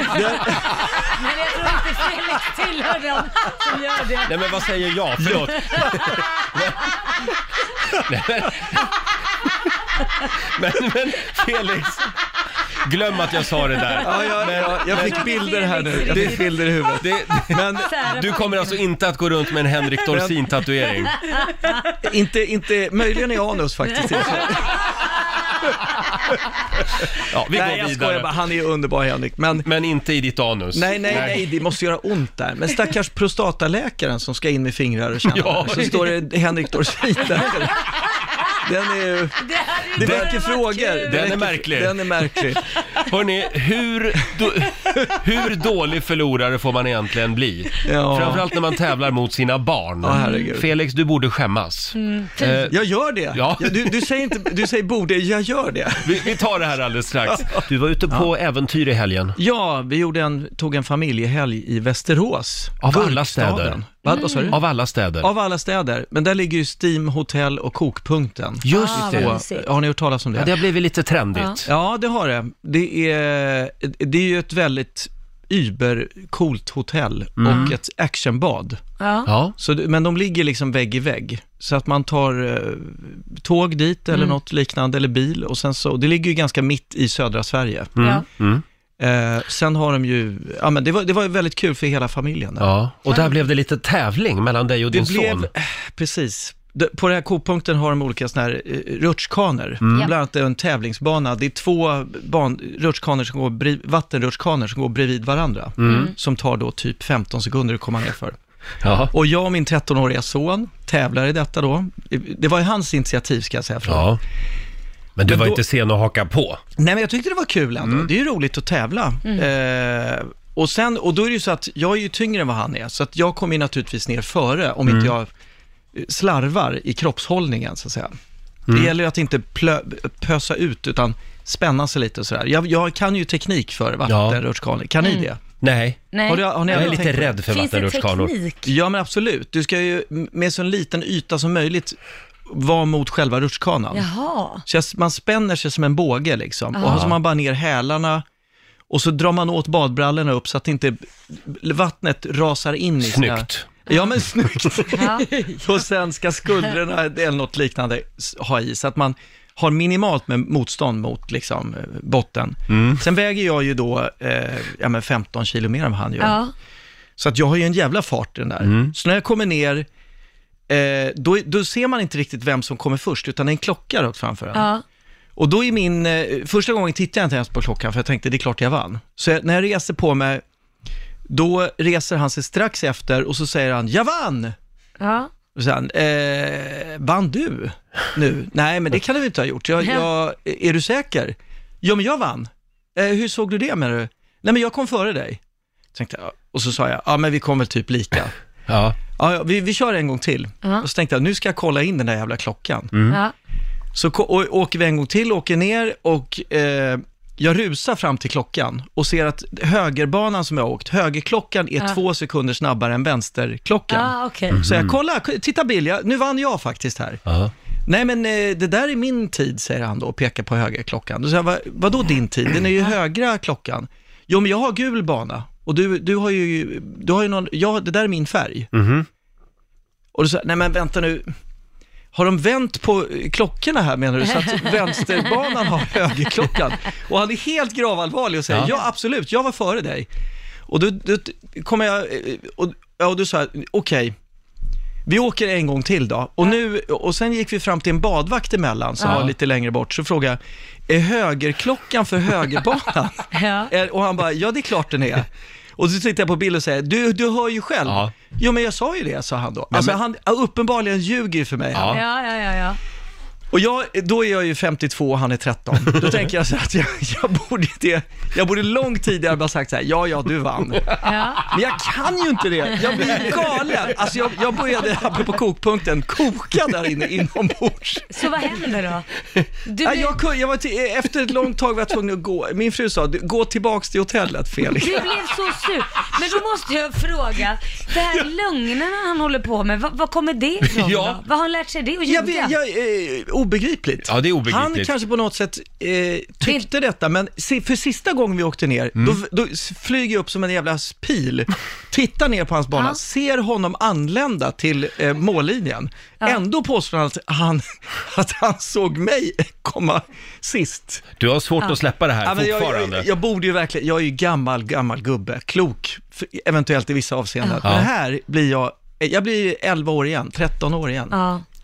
C: jag tror inte Felix tillhör dem som gör det.
A: Nej men vad säger jag? Förlåt. Nej, men, men, men Felix, glöm att jag sa det där.
G: Ja, ja,
A: men,
G: ja, jag fick bilder här nu.
A: Jag
G: Det
A: fick-
G: är bilder i huvudet.
A: Det,
G: Men
A: du kommer alltså inte att gå runt med en Henrik Dorsin-tatuering?
G: inte, inte, möjligen i anus faktiskt.
A: Ja, vi
G: nej,
A: går
G: jag
A: vidare.
G: skojar bara. Han är ju underbar Henrik. Men,
A: men inte i ditt anus.
G: Nej, nej, nej, det måste göra ont där. Men stackars prostataläkaren som ska in med fingrar och känna.
A: Ja.
G: Så står det Henrik Dorsin där. Den är ju...
C: Det hade ju
G: Det
C: bara
G: väcker
C: varit
G: frågor.
C: kul.
G: Det
A: Den är
G: väcker-
A: märklig.
G: Den är märklig.
A: Hörrni, hur, då, hur dålig förlorare får man egentligen bli?
G: Ja.
A: Framförallt när man tävlar mot sina barn.
G: Ja, herregud.
A: Felix, du borde skämmas.
C: Mm,
A: Eh,
G: Jag gör det.
A: Ja.
G: Ja, Du, du säger inte, du säger borde, jag gör det.
A: Vi, vi tar det här alldeles strax. Du var ute på äventyr i helgen.
G: Ja, vi gjorde en, tog en familjehelg i Västerås.
A: Av alla
G: Gurkstaden.
A: städer.
G: Vad vad sa du?
A: Av alla städer.
G: Av alla städer, men där ligger ju Steam, hotell och kokpunkten.
A: Just
C: Ah,
A: det.
C: vad
G: Så,
C: mysigt.
G: har ni hört talas om det?
A: Ja, det har blivit lite trendigt.
G: Ja, det har det. Det är, det är ju ett väldigt übercoolt hotell och ett actionbad.
C: Ja.
A: Ja.
G: Så, det- men de ligger liksom vägg i vägg. Så att man tar eh, tåg dit
C: Mm.
G: eller något liknande, eller bil. Och sen så, det ligger ju ganska mitt i södra Sverige.
A: Mm,
C: Ja.
G: Eh, sen har de ju, ja men det var, det var väldigt kul för hela familjen. där.
A: Ja, och
C: Mm.
A: där blev det lite tävling mellan dig och din
G: det blev,
A: son.
G: eh, precis. D- På den här kopunkten har de olika sådana här eh, rutschkanor.
A: Mm.
G: Bland annat en tävlingsbana. Det är två ban, rutschkanor som går, bri- vattenrutschkanor som går bredvid varandra.
A: Mm.
C: Mm.
G: Som tar då typ 15 sekunder att komma ner för.
A: Ja.
G: Och jag och min 13-åriga son tävlar i detta då. Det var ju hans initiativ ska jag säga. Från.
A: ja. Men du
G: Men
A: var
G: då-
A: inte sen att haka på.
G: Nej men jag tyckte det var kul ändå.
A: Mm.
G: Det är ju roligt att tävla.
C: Mm.
G: Eh, och, sen, och då är det ju så att jag är ju tyngre än vad han är, så att jag kommer ju naturligtvis ner före om inte
A: Mm.
G: jag eh, slarvar i kroppshållningen så att säga.
A: Mm.
G: Det gäller ju att inte plö, pösa ut utan spänna sig lite och sådär. Jag, jag kan ju teknik för vattenrutschkanor, kan ni det?
A: Nej,
C: Mm. Nej.
G: Har du- har ni
A: jag är
G: aldrig
A: lite
G: tänkt på det?
A: rädd för
C: Finns det
A: vattenrutschkanor.
C: teknik?
G: Ja, men absolut. Du ska ju med så liten yta som möjligt vara mot själva rutschkanan.
C: Jaha.
G: Så jag, man spänner sig som en båge liksom. Och så har man bara ner hälarna och så drar man åt badbrallorna upp så att inte vattnet rasar in i sina-
A: Snyggt.
G: Ja, men snyggt.
C: Ja.
G: och sen ska skuldrorna eller något liknande s- ha i, så att man har minimalt med motstånd mot liksom, eh, botten. Sen väger jag ju då eh, ja, men 15 kilo mer än vad han gör.
C: Ja.
G: Så att jag har ju en jävla fart i den där. Så när jag kommer ner, eh, då, då ser man inte riktigt vem som kommer först, utan det är en klocka rakt framför en.
C: Ja.
G: Och då är min, eh, första gången tittade jag inte ens på klockan, för jag tänkte det är klart jag vann. Så jag, när jag reser på mig, då reser han sig strax efter och så säger han, jag vann!
C: Ja.
G: Och sen, eh, vann du nu? Nej, men det kan du inte ha gjort. Jag, jag, är du säker? Ja, men jag vann. Eh, hur såg du det menar du? Nej, men jag kom före dig. Tänkte, jag. och så sa jag, ja men vi kom väl typ lika.
A: Ja.
G: Ja, ja, vi, vi kör en gång till.
C: Ja.
G: Och så tänkte jag, nu ska jag kolla in den där jävla klockan.
C: Ja.
G: Så ko- och, åker vi en gång till, åker ner och eh, jag rusar fram till klockan och ser att högerbanan som jag har åkt, högerklockan är
C: Ja.
G: två sekunder snabbare än vänsterklockan.
C: Ja, okej.
G: Så jag, kolla, k- titta Bill, jag, nu vann jag faktiskt här.
A: Ja.
G: Nej men eh, det där är min tid, säger han då och pekar på högerklockan. Då säger jag, "Va- vadå din tid? Den är ju högra klockan. Jo men jag har gul bana och du, du har ju, du har ju någon, ja det där är min färg. Och då säger jag, nej men vänta nu, har de vänt på eh, klockorna här menar du? Så att vänsterbanan har högerklockan? Och han är helt gravallvarlig och säger,
A: Ja.
G: ja, absolut, jag var före dig. Och då, då kommer jag, eh, och, ja, och du sa, jag, okej, vi åker en gång till då. Och, nu, och sen gick vi fram till en badvakt emellan som var lite längre bort, så frågade jag, är högerklockan för högerbanan?
C: Ja.
G: Eh, Och han bara, ja det är klart den är. Och så tittar jag på Bill och säger, du, du hör ju själv.
A: Ja.
G: Jo men jag sa ju det, sa han då. Alltså
A: men-
G: han, uppenbarligen ljuger ju för mig.
A: Ja.
C: Ja, ja, ja, ja.
G: Och jag, då är jag ju 52 och han är 13. Då tänker jag så här att jag, jag, borde, det, jag borde lång tidigare bara sagt så här, ja, ja, du vann. Men jag kan ju inte det. Jag blir galen. Alltså jag, jag började, apropå kokpunkten, koka där inne inombords.
C: Så vad händer då? Du
G: Ja,
C: blir-
G: jag, kunde- jag var till, efter ett långt tag var jag tvungen att gå. Min fru sa, "Du, gå tillbaks till hotellet Felix.
C: Du blev så sur. Men då måste jag fråga, det här lögnerna han håller på med, vad, vad kommer det ifrån
G: Ja.
C: då? Vad har han lärt sig det och
G: Jag
C: ljuga?
G: vet, jag, eh, obegripligt.
A: Ja, det är obegripligt.
G: Han kanske på något sätt eh, tyckte detta, men si- för sista gången vi åkte ner,
A: Mm.
G: då, då flyger jag upp som en jävla pil, tittar ner på hans bana, ser honom anlända till eh, mållinjen. Ändå påstår han att han, att han såg mig komma sist.
A: Du har svårt
G: Ja.
A: att släppa det här
G: Ja, men jag-
A: fortfarande.
G: Jag, jag borde ju verkligen, jag är ju gammal, gammal gubbe, klok, för, eventuellt i vissa avseenden.
A: Ja.
G: Men här blir jag, jag blir 11 år igen, 13 år igen.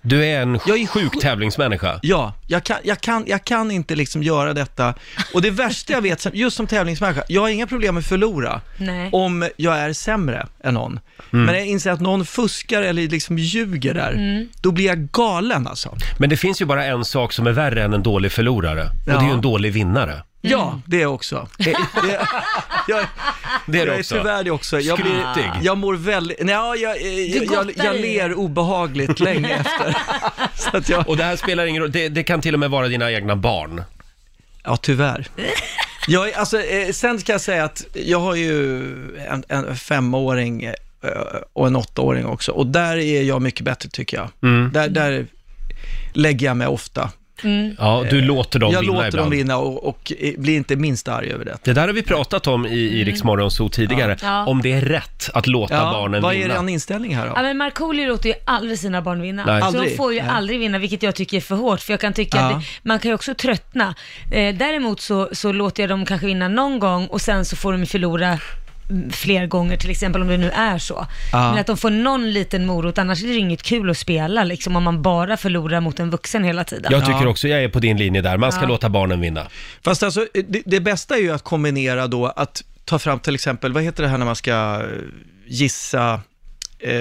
A: Du är en sjuk tävlingsmänniska.
G: Ja, jag kan, jag, kan, jag kan inte liksom göra detta. Och det värsta jag vet, som- just som tävlingsmänniska, jag har inga problem med att förlora
C: Nej.
G: om jag är sämre än någon.
A: Mm.
G: Men jag inser att någon fuskar eller liksom ljuger där,
C: Mm.
G: då blir jag galen alltså.
A: Men det finns ju bara en sak som är värre än en dålig förlorare. Och det är ju en dålig vinnare.
G: Ja, det är jag också. Det, det, jag,
A: Det är du
G: jag
A: också.
G: är tyvärr det också. Jag,
A: Skrytig.
G: jag mår väldigt... Nej, jag, jag, jag,
A: gottar
G: jag, jag
A: dig.
G: ler obehagligt länge efter.
A: Och det här spelar ingen roll, det, det kan till och med vara dina egna barn.
G: Ja, tyvärr. Jag, är- alltså, eh, sen ska jag säga att jag har ju en, en femåring eh, och en åttaåring också. Och där är jag mycket bättre tycker jag.
A: Mm.
G: Där, där lägger jag mig ofta.
C: Mm.
A: Ja, du
G: Eh,
A: låter dem
G: jag
A: vinna
G: låter
A: ibland.
G: dem vinna och, och eh, blir inte minst arg över det.
A: Det där har vi pratat om i, i Rix Morgonzoo tidigare,
C: Mm. Ja.
A: om det är rätt att låta
G: Ja,
A: barnen
G: vad är
A: vinna.
G: er inställning här då?
C: Ja, men Markoolio låter ju aldrig sina barn vinna.
A: Nej.
C: Så de
A: Aldrig.
C: får ju
A: Nej.
C: aldrig vinna, vilket jag tycker är för hårt, för jag kan tycka
A: Ja.
C: att det, man kan ju också tröttna. Eh, däremot så, så låter jag dem kanske vinna någon gång och sen så får de ju förlora mm, fler gånger till exempel om det nu är så.
L: Ja.
C: Men att de får någon liten morot, annars är det ju inget kul att spela liksom om man bara förlorar mot en vuxen hela tiden.
A: Jag tycker också jag är på din linje där, man ska
C: Ja.
A: låta barnen vinna.
G: Fast alltså, det, det bästa är ju att kombinera då att ta fram till exempel, vad heter det här när man ska eh, gissa, eh,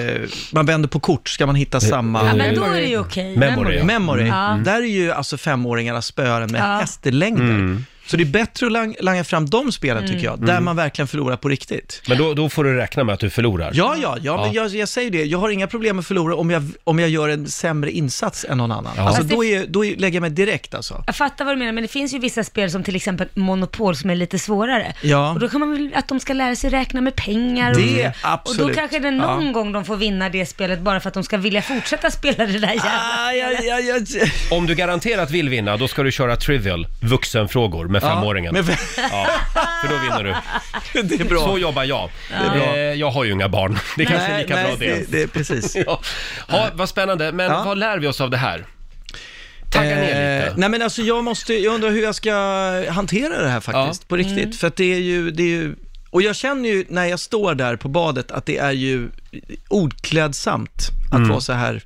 G: man vänder på kort, ska man
A: Eh,
G: hitta samma...
C: Ja, men då är det ju okej.
G: Memory. Memory.
A: Mm.
C: Ja.
G: Där är ju alltså femåringarna spöar en med
C: Ja.
G: hästlängder. Så det är bättre att lang- langa fram de spelen tycker jag, där
A: Mm.
G: man verkligen förlorar på riktigt.
A: Men då, då får du räkna med att du förlorar.
G: Ja, ja, ja, men
A: Ja.
G: jag, jag säger det. Jag har inga problem med att förlora om jag, om jag gör en sämre insats än någon annan.
A: Ja.
G: Alltså,
C: Fast det-
G: då, är, då är, lägger jag mig direkt alltså.
C: Jag fattar vad du menar, men det finns ju vissa spel som till exempel Monopol som är lite svårare.
G: Ja.
C: Och då kan man väl att de ska lära sig räkna med pengar.
G: Det,
C: och,
G: absolut.
C: Och då kanske det någon
G: Ja.
C: gång de får vinna det spelet bara för att de ska vilja fortsätta spela det där jävla
G: Ah,
C: spelet.
A: Om du garanterat vill vinna, då ska du köra Trivial, vuxenfrågor med
G: Ja,
A: femåringen.
G: med
A: Ja, för då vinner du.
G: Det är bra.
A: Så jobbar jag.
G: Det är bra.
A: Eh, Jag har ju inga barn, det kanske är
G: Nej,
A: lika
G: nej,
A: bra det.
G: det- det är precis.
A: ja. ja, vad spännande, men
G: Ja.
A: vad lär vi oss av det här? Tagga ner lite.
G: Eh, nej men alltså jag måste, jag undrar hur jag ska hantera det här faktiskt,
A: Ja.
G: på riktigt.
A: Mm.
G: För att det är ju, det är ju, och jag känner ju när jag står där på badet att det är ju ordklädsamt att
A: Mm.
G: vara så här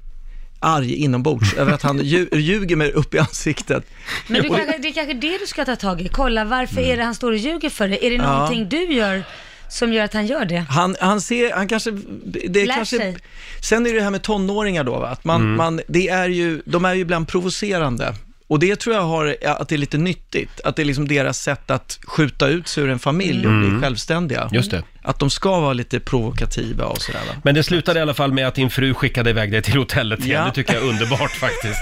G: arg inombords över att han lju- ljuger mig upp i ansiktet.
C: Men du
G: Och-
C: kanske, det är kanske det du ska ta tag i. Kolla, varför är det han står och ljuger för dig? Är det
G: Mm. Ja.
C: någonting du gör som gör att han gör det?
G: Han, han ser, han kanske, det är
C: Lär
G: kanske,
C: sig.
G: sen är det det här med tonåringar då, va? att man,
A: Mm.
G: man, det är ju, de är ju ibland provocerande. Och det tror jag har, att det är lite nyttigt, att det är liksom deras sätt att skjuta ut sig ur en familj och
A: Mm.
G: bli självständiga.
A: Just det.
G: Att de ska vara lite provokativa och sådär. Va?
A: Men det slutade i alla fall med att din fru skickade iväg dig till hotellet igen.
G: Ja.
A: Det tycker jag är underbart faktiskt.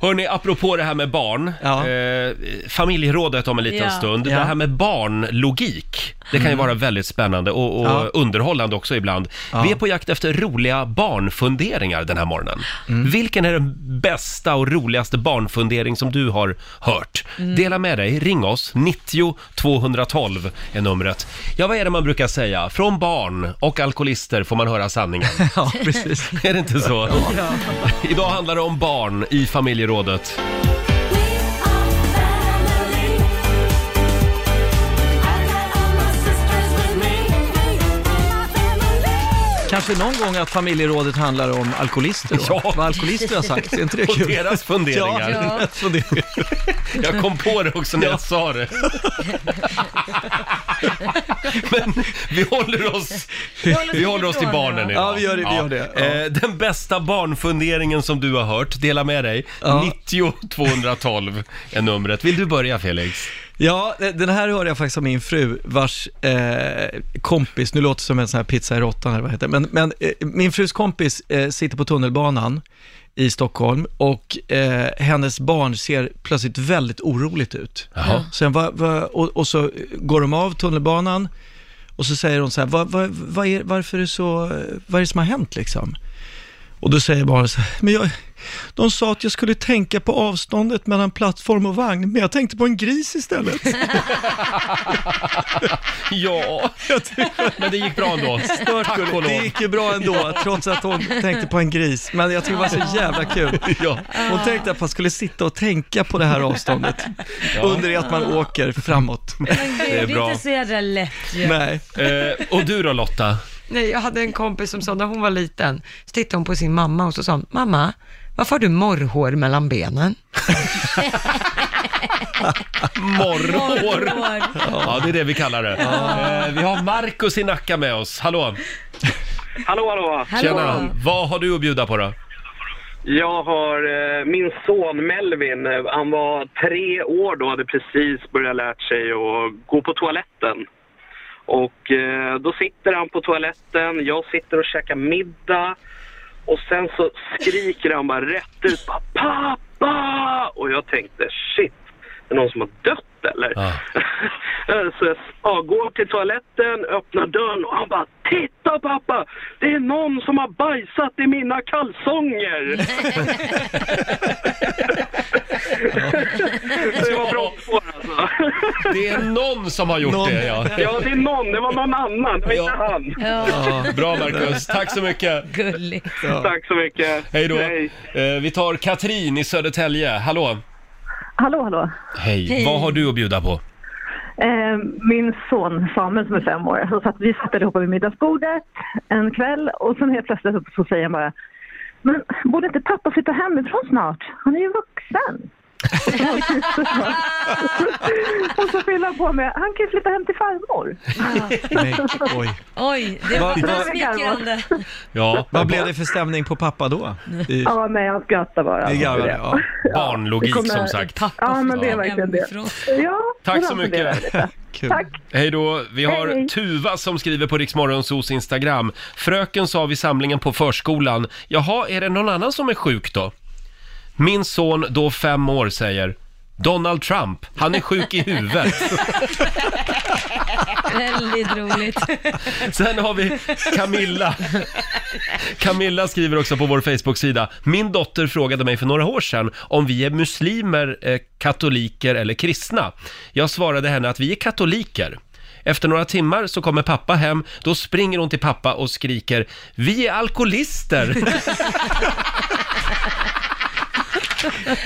A: Hörni, apropå det här med barn. Eh, familjerådet om en liten
H: Ja.
A: stund.
H: Ja.
A: Det här med barnlogik. Det kan ju
H: Mm.
A: vara väldigt spännande och, och
H: Ja.
A: underhållande också ibland. Vi är på jakt efter roliga barnfunderingar den här morgonen.
G: Mm.
A: Vilken är den bästa och roligaste barnfundering som du har hört?
G: Mm.
A: Dela med dig, ring oss. 90 212 är numret. Ja, vad är det man brukar säga? Från barn och alkoholister får man höra sanningen.
G: ja, precis.
A: Är det inte så?
G: Ja.
A: Idag handlar det om barn i familjerådet.
G: kanske någon gång att familjerådet handlar om alkoholister då?
A: Ja.
G: Vad alkoholister har sagt, är inte det
A: Och
G: kul?
A: deras funderingar.
G: Ja, deras funderingar.
A: Jag kom på det också när jag sa det. Men vi håller oss,
G: Vi håller oss
A: vi håller oss till
G: ifrån
A: barnen
G: det.
A: idag.
G: Ja, vi gör det, vi gör det. Ja.
A: Eh, Den bästa barnfunderingen som du har hört, dela med dig. 90 212 är numret. Vill du börja Felix?
G: Ja, eh, den här hörde jag faktiskt av min fru, vars eh, kompis, nu låter det som en sån här pizza i råttan eller vad det heter, men, men eh, min frus kompis eh, sitter på tunnelbanan i Stockholm och eh, hennes barn ser plötsligt väldigt oroligt ut.
A: Jaha.
G: Sen, va, va, och, och så går de av tunnelbanan och så säger hon så här, va, va, vad är, varför är det så, eh, vad är det som har hänt liksom? Och då säger barnet så här, men jag, de sa att jag skulle tänka på avståndet mellan plattform och vagn, men jag tänkte på en gris istället.
A: Ja, men det gick bra ändå.
G: Stört
A: Tack
G: gulligt.
A: och lov.
G: Det gick ju bra ändå, trots att hon tänkte på en gris. Men jag tycker det var så jävla kul.
A: Ja.
G: Hon tänkte att man skulle sitta och tänka på det här avståndet
A: Ja.
G: under det att man åker framåt.
C: Men gud,
A: Det
C: det
A: är
C: är,
A: bra.
C: inte så jädra lätt ju.
G: Nej.
A: Eh, och du då Lotta?
D: Nej, jag hade en kompis som sa när hon var liten, så tittade hon på sin mamma och så sa hon, mamma, varför har du morrhår mellan benen?
A: Morrhår.
C: Morrhår.
A: Ja, det är det vi kallar det. Eh, vi har Markus i Nacka med oss. Hallå!
L: Hallå, hallå!
C: Hallå.
A: Tjena! Vad har du att bjuda på då?
L: Jag har eh, min son Melvin. eh, Han var tre år då, hade precis börjat lärt sig att gå på toaletten. Och eh, då sitter han på toaletten, jag sitter och käkar middag och sen så skriker han bara rätt ut bara, ”Pappa!” och jag tänkte shit, det är någon som har dött eller? Så jag ja, går till toaletten, öppnar dörren och han bara Titta pappa! Det är någon som har bajsat i mina kalsonger! det var bra spår alltså.
A: Det är någon som har gjort
L: Någon.
A: det, ja.
L: ja, det är någon. Det var någon annan. Det var inte han.
C: Ja,
A: Bra Marcus, tack så mycket.
C: gulligt.
L: Tack så mycket.
A: Hej då. Eh, vi tar Katrin i Södertälje. Hallå!
M: Hallå, hallå.
A: Hej.
M: Hej.
A: Vad har du att bjuda på?
M: Eh, min son Samuel som är fem år, så satt, vi satt allihopa vid middagsbordet en kväll och sen helt plötsligt så, så säger han bara men borde inte pappa flytta hemifrån snart? Han är ju vuxen. och så fyller han på med, han kan ju flytta hem till farmor.
G: Nej, oj.
C: Oj, det
G: Vad- vad-
C: var smickrande.
A: Ja.
G: Vad blev det för stämning på pappa då? I,
M: Ja, men jag skrattar bara.
G: i garvade, ja.
A: Barnlogik
M: kommer-
A: som sagt.
M: Ja, men det är
A: Ja.
M: verkligen det. Ja,
A: Tack så
M: men det är
A: mycket.
M: det.
G: Kul.
M: Tack.
A: Hej då! Vi har
M: Hej.
A: Tuva som skriver på Riksmorgonsos Instagram. Fröken sa vid samlingen på förskolan, jaha, är det någon annan som är sjuk då? Min son, då fem år, säger Donald Trump, han är sjuk i huvudet.
C: Väldigt roligt.
A: Sen har vi Camilla. Camilla skriver också på vår Facebook-sida. Min dotter frågade mig för några år sedan om vi är muslimer, eh, katoliker eller kristna. Jag svarade henne att vi är katoliker. Efter några timmar så kommer pappa hem, då springer hon till pappa och skriker Vi är alkoholister!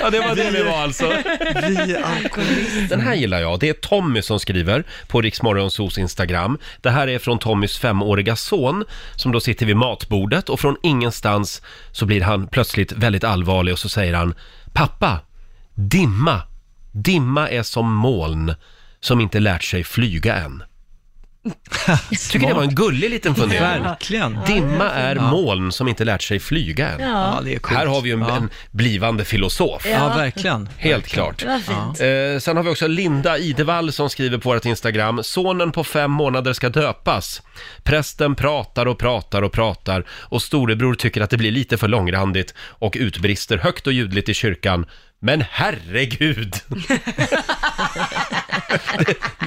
A: ja, det var det vi var alltså.
G: Vi är alkoholister.
A: Den här gillar jag. Det är Tommy som skriver på Riksmorgonsos Instagram. Det här är från Tommys femåriga son som då sitter vid matbordet och från ingenstans så blir han plötsligt väldigt allvarlig och så säger han Pappa, dimma. Dimma är som moln som inte lärt sig flyga än. Jag tycker det var en gullig liten fundering.
G: Verkligen.
A: Dimma är
G: Ja.
A: moln som inte lärt sig flyga än.
G: Ja, det är coolt.
A: Här har vi ju en,
G: Ja.
A: en blivande filosof.
G: Ja, verkligen.
A: Helt klart.
C: Det var fint.
A: Eh, sen har vi också Linda Idevall som skriver på vårt Instagram. Sonen på fem månader ska döpas. Prästen pratar och pratar och pratar och storebror tycker att det blir lite för långrandigt och utbrister högt och ljudligt i kyrkan. Men herregud!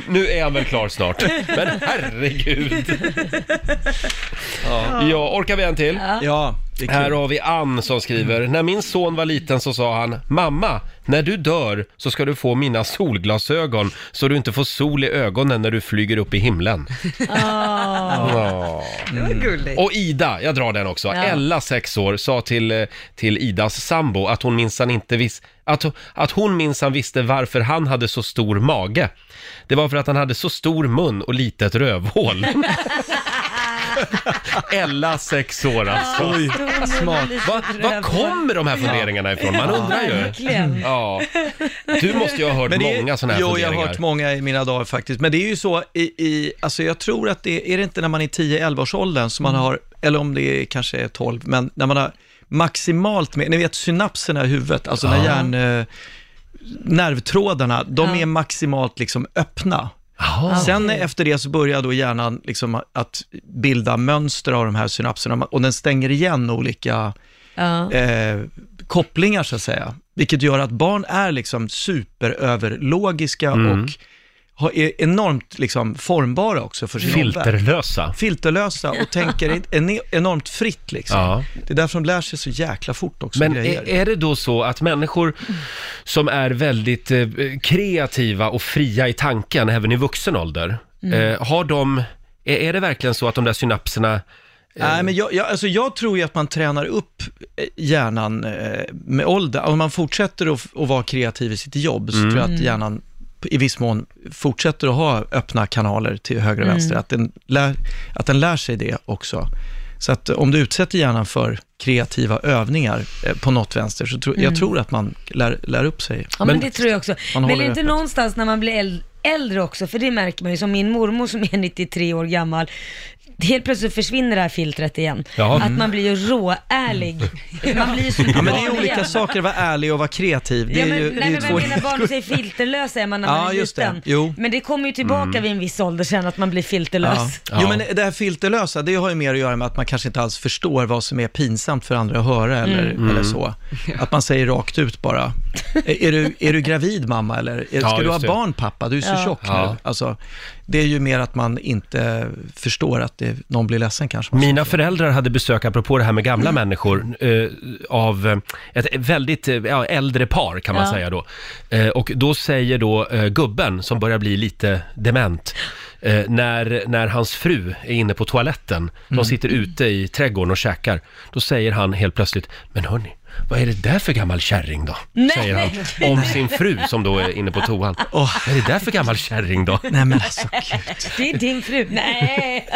A: nu är han väl klar snart. Men herregud! ja. orkar vi en till?
G: Ja, det är
A: Här
G: kul.
A: har vi Ann som skriver, när min son var liten så sa han Mamma, när du dör så ska du få mina solglasögon så du inte får sol i ögonen när du flyger upp i himlen. Ja.
D: Det var gulligt.
A: Och Ida, jag drar den också.
D: Ja.
A: Ella, sex år, sa till, eh, till Idas sambo att hon minsann inte vis- att, att hon minsann visste varför han hade så stor mage. Det var för att han hade så stor mun och litet rövhål. Ella, sex år alltså.
C: Ja, Oj, tror hon smart. var lite
A: Va- Var
C: röd.
A: kommer de här funderingarna ifrån? Man
G: Ja,
A: undrar ju.
G: verkligen.
A: Ja. Du måste ju ha hört
G: Men det är-
A: många sådana här
G: Jo, jag
A: funderingar.
G: har hört många i mina dagar faktiskt. Men det är ju så i, i alltså jag tror att det, är det inte när man är 10-11 års åldern som man
H: Mm.
G: har, eller om det är kanske är 12, men när man har maximalt med, ni vet synapserna i huvudet, alltså när
H: Ja.
G: hjärn, eh, nervtrådarna, de
H: Ja.
G: är maximalt liksom öppna. Sen
H: Okej.
G: efter det så börjar då hjärnan liksom att bilda mönster av de här synapserna och den stänger igen olika
C: Ja.
G: eh, kopplingar så att säga. Vilket gör att barn är liksom superöverlogiska
A: Mm.
G: och har, är enormt liksom formbara också för sin
A: Filterlösa.
G: omvärld. Filterlösa och tänker en- enormt fritt liksom.
A: Ja.
G: Det är därför de lär sig så jäkla fort också
A: Men
G: grejer.
A: är, är det då så att människor som är väldigt eh, kreativa och fria i tanken även i vuxen ålder,
G: Mm.
A: eh, har de, är, är det verkligen så att de där synapserna
C: Eh.
G: Nej, men jag, jag, alltså jag tror ju att man tränar upp eh, hjärnan eh, med ålder. Om man fortsätter att, f- att vara kreativ i sitt jobb så
H: Mm.
G: tror jag att
H: Mm.
G: hjärnan p- i viss mån fortsätter att ha öppna kanaler till höger och
H: Mm.
G: vänster. Att den, lär, att den lär sig det också. Så att eh, om du utsätter hjärnan för kreativa övningar eh, på något vänster så tror
C: Mm.
G: jag tror att man lär, lär upp sig.
C: Ja, men, det tror jag också.
G: Man
C: Men är
G: håller
C: det inte
G: öppet.
C: någonstans när man blir äl- äldre också, för det märker man ju, som min mormor som är 93 år gammal, helt plötsligt försvinner det här filtret igen.
G: Ja.
C: Att man blir ju råärlig. Man blir ju som
G: Mm. Ja, men det
C: barn
G: är olika
C: igen.
G: saker att vara ärlig och vara kreativ. Det
C: ja,
G: är
C: men,
G: ju, det är
C: nej, men
G: två
C: jag menar barn säger filterlösa är man när man
G: Ja,
C: är
G: just det.
C: liten.
G: Jo.
C: Men det kommer ju tillbaka
G: Mm.
C: vid en viss ålder sen att man blir filterlös.
G: Ja. Jo, men det här filterlösa, det har ju mer att göra med att man kanske inte alls förstår vad som är pinsamt för andra att höra eller,
H: Mm.
G: eller så. Att man säger rakt ut bara, är är du, är du gravid mamma eller är-
H: Ja,
G: ska du
H: just
G: ha
H: det.
G: barn pappa, du är så
H: Ja.
G: tjock
H: Ja.
G: nu. Alltså, det är ju mer att man inte förstår att det, någon blir ledsen kanske.
A: Mina föräldrar hade besök, apropå det här med gamla människor, eh, av eh, ett väldigt eh, ja, äldre par kan man
H: Ja.
A: säga då. Eh, och då säger då eh, gubben, som börjar bli lite dement, eh, när, när hans fru är inne på toaletten, de sitter ute i trädgården och käkar, då säger han helt plötsligt, men hörni, vad är det där för gammal kärring då?
H: Nej.
A: Säger han om sin fru som då är inne på toan. Vad är det där för gammal kärring då?
G: Nej, men alltså,
C: Det är din fru. Nej.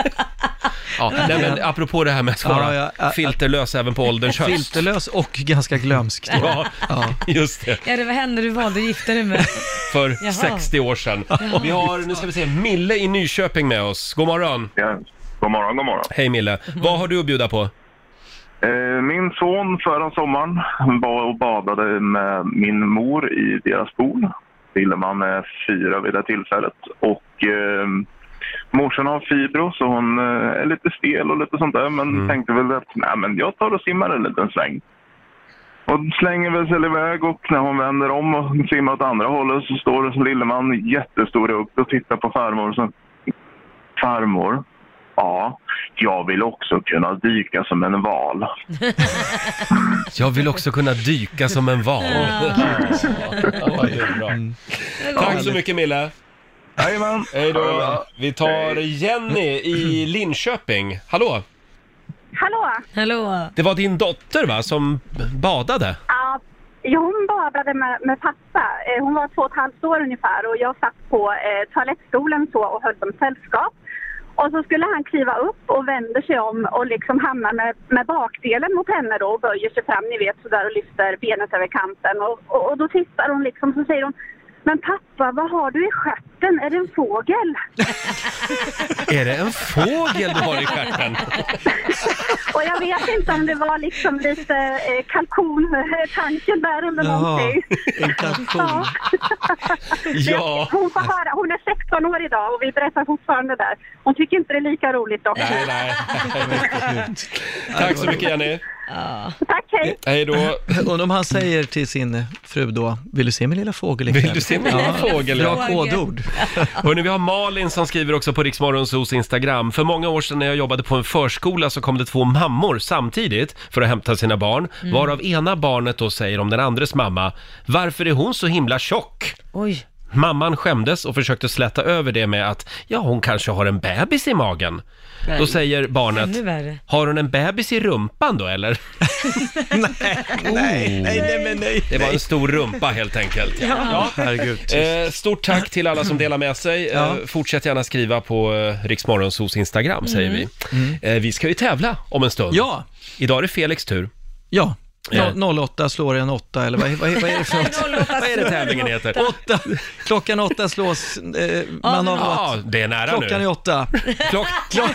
A: Ja, nej, men apropå det här med att vara
G: Ja, ja, ä-
A: filterlös även på ålderns höst.
G: Filterlös och ganska glömsk.
A: Ja, just det.
C: Ja, det var henne du valde att gifta dig med.
A: För
C: Jaha.
A: 60 år sedan.
C: Jaha.
A: Vi har, nu ska vi se, Mille i Nyköping med oss. God morgon.
E: God morgon, god morgon.
A: Hej Mille. Vad har du att bjuda på?
E: Eh, Min son förra sommaren var och badade med min mor i deras pool. Lilleman är fyra vid det tillfället. Och eh, morsan har fibro så hon eh, är lite stel och lite sånt där. Men tänkte väl att Nej, men jag tar och simmar en liten sväng. Och slänger väl sig iväg och när hon vänder om och simmar åt andra hållet så står det som Lilleman jättestor upp och tittar på farmor och så Farmor? Ja, jag vill också kunna dyka som en val.
A: Jag vill också kunna dyka som en val. Ja, det är bra. Tack så mycket Mille.
E: Jajamän.
A: Hej
E: Ha det
A: då.
E: bra.
A: Vi tar Jenny i Linköping. Hallå!
N: Hallå!
C: Hallå!
A: Det var din dotter va, som badade?
N: Ja, ja, hon badade med, med pappa. Eh, Hon var två och ett halvt år ungefär och jag satt på eh, toalettstolen så och höll dem sällskap. Och så skulle han kliva upp och vänder sig om och liksom hamnar med, med bakdelen mot henne då och böjer sig fram, ni vet sådär och lyfter benet över kanten. Och, och, och då tittar hon liksom så säger hon Men pappa, vad har du i stjärten? Är det en fågel?
A: Är det en fågel du har i stjärten?
N: Och jag vet inte om det var liksom lite eh, kalkontanken där eller
A: Jaha,
N: någonting.
A: en kalkon.
N: Ja.
A: Ja.
N: Hon får höra, hon är 16 år idag och vi berättar fortfarande där. Hon tycker inte det är lika roligt dock.
A: Nej, nej. Tack så mycket Jenny.
N: Tack, hej!
A: Hej då.
G: Undrar om han säger till sin fru då, vill du se min lilla fågel ikväll?
A: Vill du se min lilla fågel?
G: Bra kodord.
A: Hörrni, vi har Malin som skriver också på Riksmorgonsos Instagram. För många år sedan när jag jobbade på en förskola så kom det två mammor samtidigt för att hämta sina barn.
H: Mm.
A: Varav ena barnet då säger om den andres mamma, varför är hon så himla tjock?
C: Oj.
A: Mamman skämdes och försökte släta över det med att ja, hon kanske har en bebis i magen.
C: Nej.
A: Då säger barnet,
C: Ännu värre.
A: har hon en bebis i rumpan då eller? Oh.
G: Nej, nej, nej, men nej.
A: Det var en stor rumpa helt enkelt.
G: Ja. Herregud.
A: Eh, stort tack till alla som delar med sig.
G: Ja.
A: Eh, fortsätt gärna skriva på eh, Riksmorgonsos Instagram säger
G: Mm.
A: vi. Eh, vi ska ju tävla om en stund.
G: Ja.
A: Idag är det Felix tur.
G: Ja.
A: Eh.
G: No- 08 slår en 8 eller vad, vad, vad är det för något?
A: Vad är det tävlingen heter?
G: Åtta. Klockan åtta slås eh, man av
A: Ja,
G: åt.
A: det är nära nu.
G: Klockan är åtta.
A: Klock, klock,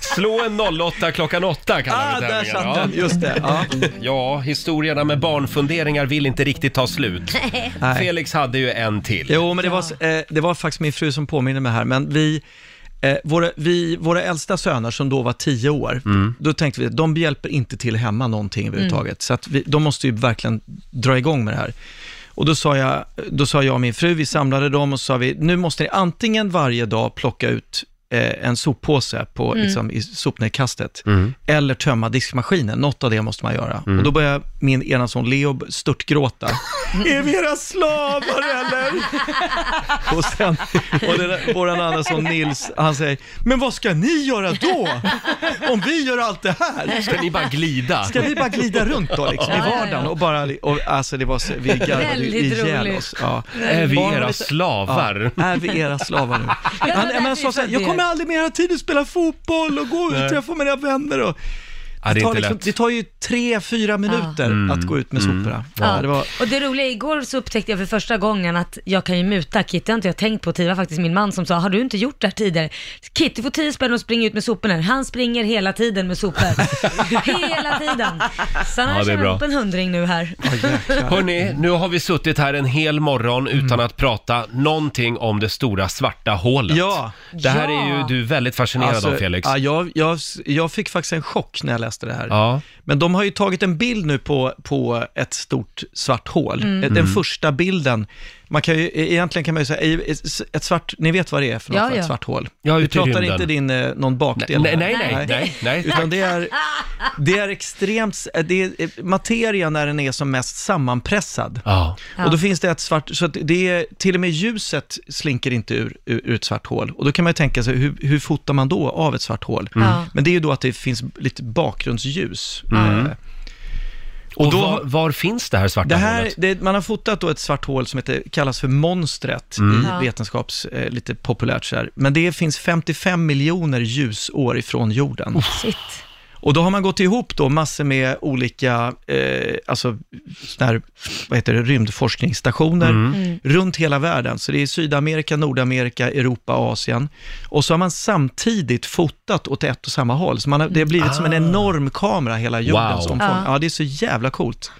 A: slå en 08 klockan 8 kallar
G: Ah,
A: vi
G: där
A: tävlingen.
G: satt den. Just det, ja.
A: ja, historierna med barnfunderingar vill inte riktigt ta slut.
C: Nej.
A: Felix hade ju en till.
G: Jo, men det, var, eh, det var faktiskt min fru som påminner mig här, men vi, eh, våra, vi, våra äldsta söner som då var tio år,
A: Mm.
G: då tänkte vi att de hjälper inte till hemma någonting överhuvudtaget, så att vi, de måste ju verkligen dra igång med det här. Och då sa, jag, då sa jag och min fru, vi samlade dem och sa vi, nu måste ni antingen varje dag plocka ut eh, en soppåse på,
H: Mm.
G: liksom, i sopnedkastet,
H: Mm.
G: eller tömma diskmaskinen, något av det måste man göra.
H: Mm.
G: Och då började min ena son Leo störtgråta.
F: Är vi era slavar eller?
G: Och sen, och det där, vår andra son Nils, han säger, men vad ska ni göra då? Om vi gör allt det här?
A: Ska ni bara glida?
G: Ska vi bara glida runt då liksom, i
A: Ja, ja, ja.
G: vardagen? Och bara, och, alltså det var så, vi garvade ju
A: Väldigt
G: ihjäl
A: roligt.
G: oss. Ja.
A: Är vi
G: Barnen
A: era
G: var lite-
A: slavar?
G: Ja, är vi era slavar nu?
F: det var
G: Han,
F: därför
G: men han sa
F: vi
G: så här,
F: födde
G: jag
F: er."
G: kommer aldrig mer ha tid att spela fotboll och gå ut
A: Nej.
G: och träffa mina vänner och
A: Ja, det är
G: tar
A: inte
G: liksom,
A: lätt.
G: det tar ju tre, fyra minuter
A: Mm.
G: att gå ut med
A: Mm.
G: soporna.
C: Ja.
G: Ja, det var,
C: Och det roliga, igår så upptäckte jag för första gången att jag kan ju muta Kit, det har inte jag tänkt på tidigare, Det var faktiskt min man som sa, har du inte gjort det här tidigare? Kit, du får 10 spänn och springer ut med soporna. Han springer hela tiden med sopor. hela tiden. Så han har
A: Ja, det är
C: tjänat
A: bra.
C: upp en hundring nu här.
A: Hörni, nu har vi suttit här en hel morgon utan
G: Mm.
A: att prata någonting om det stora svarta hålet.
G: Ja.
A: Det här
G: Ja. Alltså,
A: är ju du väldigt fascinerad av Felix.
G: Ja, jag, jag, jag fick faktiskt en chock när jag läste det här.
A: Ja.
G: Men de har ju tagit en bild nu på, på ett stort svart hål.
C: Mm.
G: Den
C: Mm.
G: första bilden. Man kan ju, e-, egentligen kan man ju säga, ett- ett svart, ni vet vad det är för något,
C: Ja,
G: va? ett
C: ja.
G: svart hål.
A: Ja,
G: Vi
A: ute i
G: pratar
A: rymden.
G: inte din, eh, någon bakdel.
A: Nej,
G: här.
A: nej, nej, nej, nej,
G: Utan det är, det är extremt, det är eh, materia när den är som mest sammanpressad.
A: Ja.
G: Och då finns det ett svart, så att det är, till och med ljuset slinker inte ur, ur, ur ett svart hål. Och då kan man ju tänka sig, hur, hur fotar man då av ett svart hål?
A: Mm. Ja.
G: Men det är ju då att det finns lite bakgrundsljus.
A: Mm.
G: Eh,
A: Och, var, var finns det här svarta
G: det här,
A: hålet?
G: det, man har fotat då ett svart hål som heter, kallas för monstret
A: Mm.
G: i
A: Ja.
G: vetenskaps, eh, lite populärt så här. Men det finns 55 miljoner ljusår ifrån jorden. Och då har man gått ihop då massor med olika, eh, alltså såna här, vad heter det, rymdforskningsstationer
F: Mm. Mm.
G: runt hela världen. Så det är Sydamerika, Nordamerika, Europa, Asien. Och så har man samtidigt fotat åt ett och samma håll. Så man har, det har blivit som en enorm kamera hela jordens
A: Ah. Wow.
G: omfång.
A: Ja.
G: Ja, det är så jävla coolt.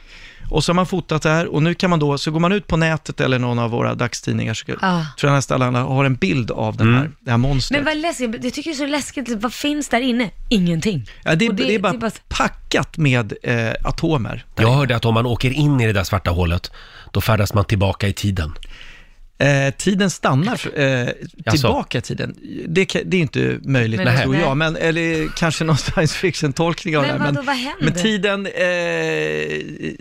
G: Och så har man fotat det här och nu kan man då, så går man ut på nätet eller någon av våra dagstidningar, så
C: Ja.
G: tror jag nästan alla har en bild av
A: Mm.
G: den här, det här monstret.
C: Ah. Men vad läskigt, jag tycker det är så läskigt, vad finns där inne? Ingenting.
G: Ja, det, är-
C: Och
G: det, är bara packat med eh, atomer.
A: Jag hörde att om man åker in i det där svarta hålet, då färdas man tillbaka i tiden.
G: Eh, tiden stannar eh, tillbaka i tiden. Det, kan- det är inte möjligt,
C: Men-
G: tror
C: Nej.
G: jag. Men, eller kanske någon science fiction-tolkning av
C: Men
G: det här.
C: vadå, vad händer?
G: men tiden eh,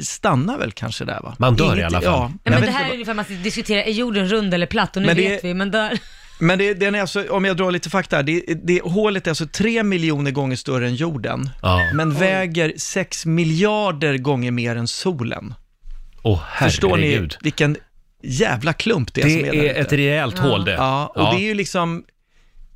G: stannar väl kanske där, va?
A: Man dör i
G: Inget-
A: alla fall.
G: Ja,
A: Nej,
G: jag
C: Nej, men
G: vet
C: det
G: inte
C: här är
G: vad-
C: ungefär man diskuterar, är jorden rund eller platt? Och nu
G: Men det-
C: vet vi, men där...
G: Men det, den är alltså, om jag drar lite fakta här, det, det, hålet är alltså 3 miljoner gånger större än jorden,
A: Ja.
G: men väger 6 miljarder gånger mer än solen.
A: Åh,
G: Förstår ni
A: herregud.
G: vilken jävla klump det är
A: Det
G: som är, där
A: är
G: ute?
A: ett rejält
G: ja.
A: hål det.
G: Ja, och
A: Ja.
G: det är ju liksom,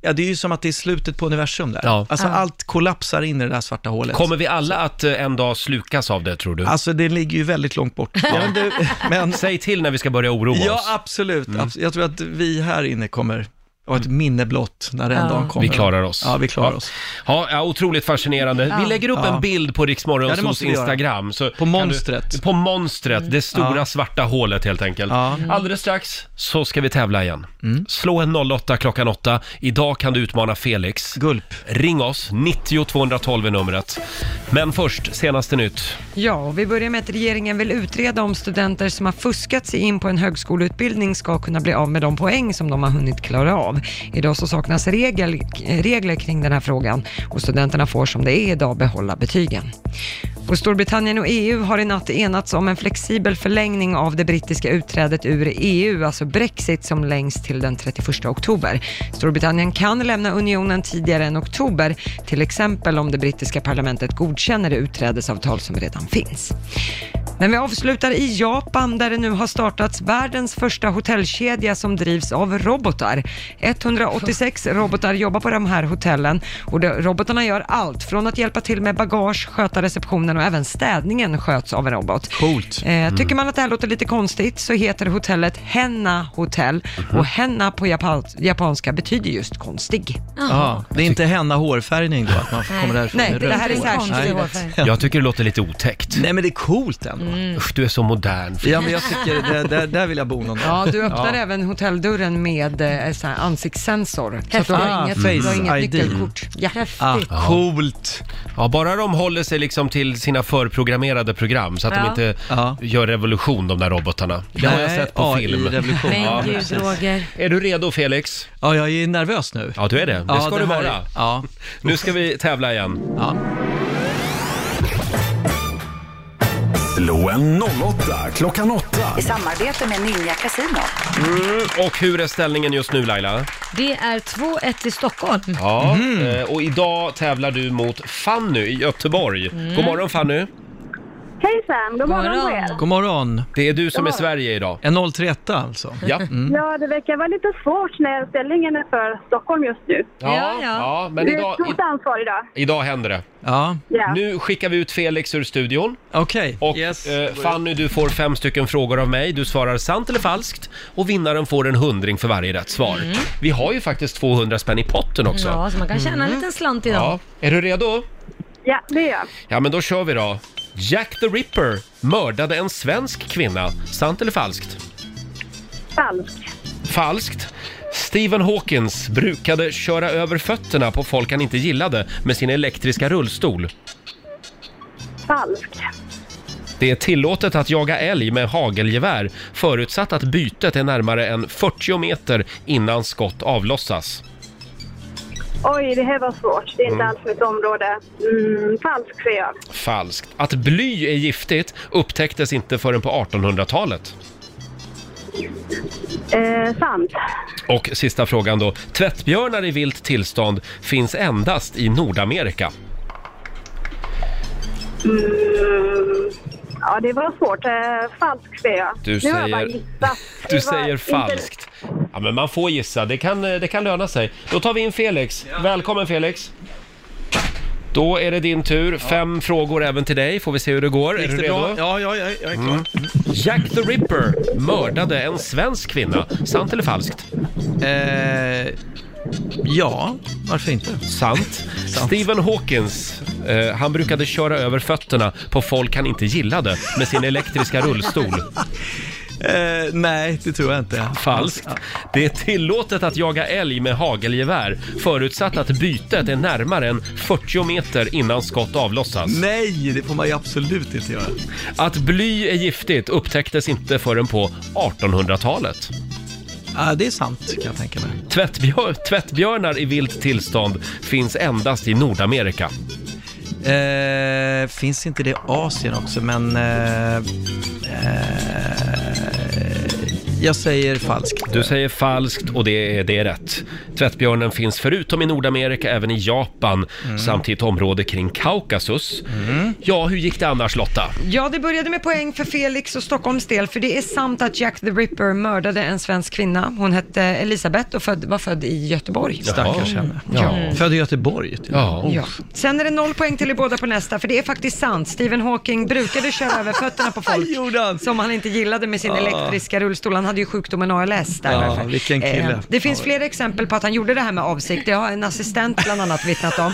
G: ja det är ju som att det är slutet på universum där.
A: Ja.
G: Alltså
A: Ja.
G: allt kollapsar in i det där svarta hålet.
A: Kommer vi alla att eh, en dag slukas av det, tror du?
G: Alltså det ligger ju väldigt långt bort. Jag vet inte, men...
A: Säg till när vi ska börja oroa
G: Ja,
A: oss. Mm.
G: absolut. Abs- Jag tror att vi här inne kommer ha ett minne blott när den
A: Ja.
G: dagen kommer.
A: Vi klarar oss.
G: Ja, vi klarar
A: Ja.
G: oss.
A: Ja, ja otroligt fascinerande.
G: Ja.
A: Vi lägger upp
G: Ja.
A: en bild på Riksmorgons
G: Ja, det måste vi göra.
A: Instagram. Så
G: På monstret. Mm.
A: Du, på monstret, det stora
G: Ja.
A: svarta hålet helt enkelt.
G: Ja.
B: Mm.
G: Mm.
A: Alldeles strax så ska vi tävla igen. Slå en 08 klockan 8. Idag kan du utmana Felix.
G: Gulp.
A: Ring oss, 90 212 är numret. Men först, senaste nytt.
B: Ja, och vi börjar med att regeringen vill utreda om studenter som har fuskat sig in på en högskoleutbildning ska kunna bli av med de poäng som de har hunnit klara av. Idag så saknas regel, regler kring den här frågan och studenterna får som det är idag behålla betygen. Och Storbritannien och EU har i natt enats om en flexibel förlängning av det brittiska utträdet ur EU, alltså Brexit, som längst till den 31 oktober. Storbritannien kan lämna unionen tidigare än oktober, till exempel om det brittiska parlamentet godkänner det utträdesavtal som redan finns. Men vi avslutar i Japan där det nu har startats världens första hotellkedja som drivs av robotar. 186 robotar jobbar på de här hotellen och de, robotarna gör allt från att hjälpa till med bagage, sköta receptionen och även städningen sköts av en robot.
A: Coolt.
B: Eh, tycker man att det här låter lite konstigt så heter hotellet Henna Hotel och henna på japan, japanska betyder just konstig.
G: Ja, det är inte henna hårfärgning då, att man kommer därifrån
B: Nej,
G: med
B: det här
G: rött
B: är
G: hår.
B: särskild
G: Nej.
B: hårfärg.
A: Jag tycker det låter lite otäckt.
G: Nej, men det är coolt ändå.
A: Usch, du är så modern.
G: Ja, men jag tycker, där, där, där vill jag bo någon dag.
B: Ja, du öppnar även hotelldörren med eh, så här ansiktssensor. Så att du har
G: Ah,
B: inget, du har
G: Face
B: inget
G: ID.
B: nyckelkort. Ja.
A: Ja.
G: Coolt!
A: Ja, bara de håller sig liksom till sina förprogrammerade program så att de
C: Ja.
A: inte gör revolution de där robotarna. Det har jag
G: Nej,
A: sett på
G: AI
A: film.
G: revolution.
C: Men
A: Ja,
C: gud
A: precis.
C: Roger.
A: Är du redo Felix?
G: Ja, jag är nervös nu.
A: Ja, du är det. Det
G: Ja,
A: ska du
G: här-
A: vara.
G: Ja.
A: Nu ska vi tävla igen.
G: Ja.
I: Slå en 08 klockan 8.
J: I samarbete med Ninja Casino.
A: Mm, och hur är ställningen just nu Laila?
C: Det är 2-1 till Stockholm.
A: Ja,
G: Mhm.
A: eh, och idag tävlar du mot Fanny i Göteborg.
G: Mm.
A: God morgon Fanny!
N: Hejsan, god morgon på er.
G: God morgon.
A: Det är du som är Sverige idag.
G: En 031 alltså.
A: Ja.
N: Ja, det verkar vara lite svårt när ställningen är för Stockholm just nu.
A: Ja,
C: ja.
A: ja, men
N: Det är
A: idag,
N: ett stort ansvar idag.
A: i, idag händer det.
G: Ja,
N: Ja.
A: Nu skickar vi ut Felix ur studion.
G: okej.
A: Och
G: Yes.
A: eh, Fanny, du får fem stycken frågor av mig. Du svarar sant eller falskt och vinnaren får en hundring för varje rätt svar.
G: Mm.
A: Vi har ju faktiskt 200 spänn i potten också.
C: Ja, så man kan tjäna
G: Mm.
C: en liten slant idag.
A: Ja. Är du redo?
N: Ja, det är jag.
A: Ja, men då kör vi då. Jack the Ripper mördade en svensk kvinna. Sant eller falskt?
N: Falskt.
A: Falskt. Stephen Hawkins brukade köra över fötterna på folk han inte gillade med sin elektriska rullstol.
N: Falskt.
A: Det är tillåtet att jaga älg med hagelgevär förutsatt att bytet är närmare än 40 meter innan skott avlossas.
N: Oj, det här var svårt. Det är inte alls mitt område. Mm, falskt, säger jag.
A: Falskt. Att bly är giftigt upptäcktes inte förrän på 1800-talet.
N: Eh, sant.
A: Och sista frågan då. Tvättbjörnar i vilt tillstånd finns endast i Nordamerika.
N: Mm, ja, det var svårt. Eh, falskt, säger jag.
A: Du
N: Nu har jag bara
A: säger-
N: gissat. Det
A: Du
N: var
A: säger
N: inte-
A: falskt. Ja, men man får gissa. Det kan, eh, det kan löna sig. Då tar vi in Felix. Välkommen Felix! Då är det din tur. Fem frågor även till dig. Får vi se hur det går. Är
G: Gick
A: du
G: det
A: redo? Mm.
G: bra? Ja, ja, ja, jag är klar.
A: Jack the Ripper mördade en svensk kvinna. Sant eller falskt?
G: Eh, ja, varför inte?
A: Sant. Stephen Hawkins, eh, han brukade köra över fötterna på folk han inte gillade med sin elektriska rullstol.
G: Eh, nej, det tror jag inte.
A: Falskt. Det är tillåtet att jaga älg med hagelgevär förutsatt att bytet är närmare än 40 meter innan skott avlossas.
G: Nej, det får man ju absolut inte göra.
A: Att bly är giftigt upptäcktes inte förrän på 1800-talet.
G: Ah, det är sant, kan jag tänka mig.
A: Tvättbjör- tvättbjörnar i vilt tillstånd finns endast i Nordamerika.
G: Eh, finns inte det i Asien också, men... Eh, eh, jag säger falskt.
A: Du säger falskt och det är, det är rätt. Tvättbjörnen finns förutom i Nordamerika även i Japan
G: Mm.
A: samt i ett område kring Kaukasus. Ja, hur gick det annars Lotta?
B: Ja, det började med poäng för Felix och Stockholms del, för det är sant att Jack the Ripper mördade en svensk kvinna. Hon hette Elisabeth och född, var född i Göteborg.
G: Stackars henne.
A: Ja.
G: Född i Göteborg. typ. Oh. till och med.
A: Ja.
B: Mm. Ja. Sen är det noll poäng till er båda på nästa, för det är faktiskt sant. Stephen Hawking brukade köra över fötterna på folk
G: Gjorde han? Ah.
B: som han inte gillade med sin elektriska rullstol. Han hade ju sjukdomen ALS där.
G: Ja,
B: därför.
G: vilken kille.
B: Eh, det finns flera exempel på att han gjorde det här med avsikt. Det har en assistent bland annat vittnat om.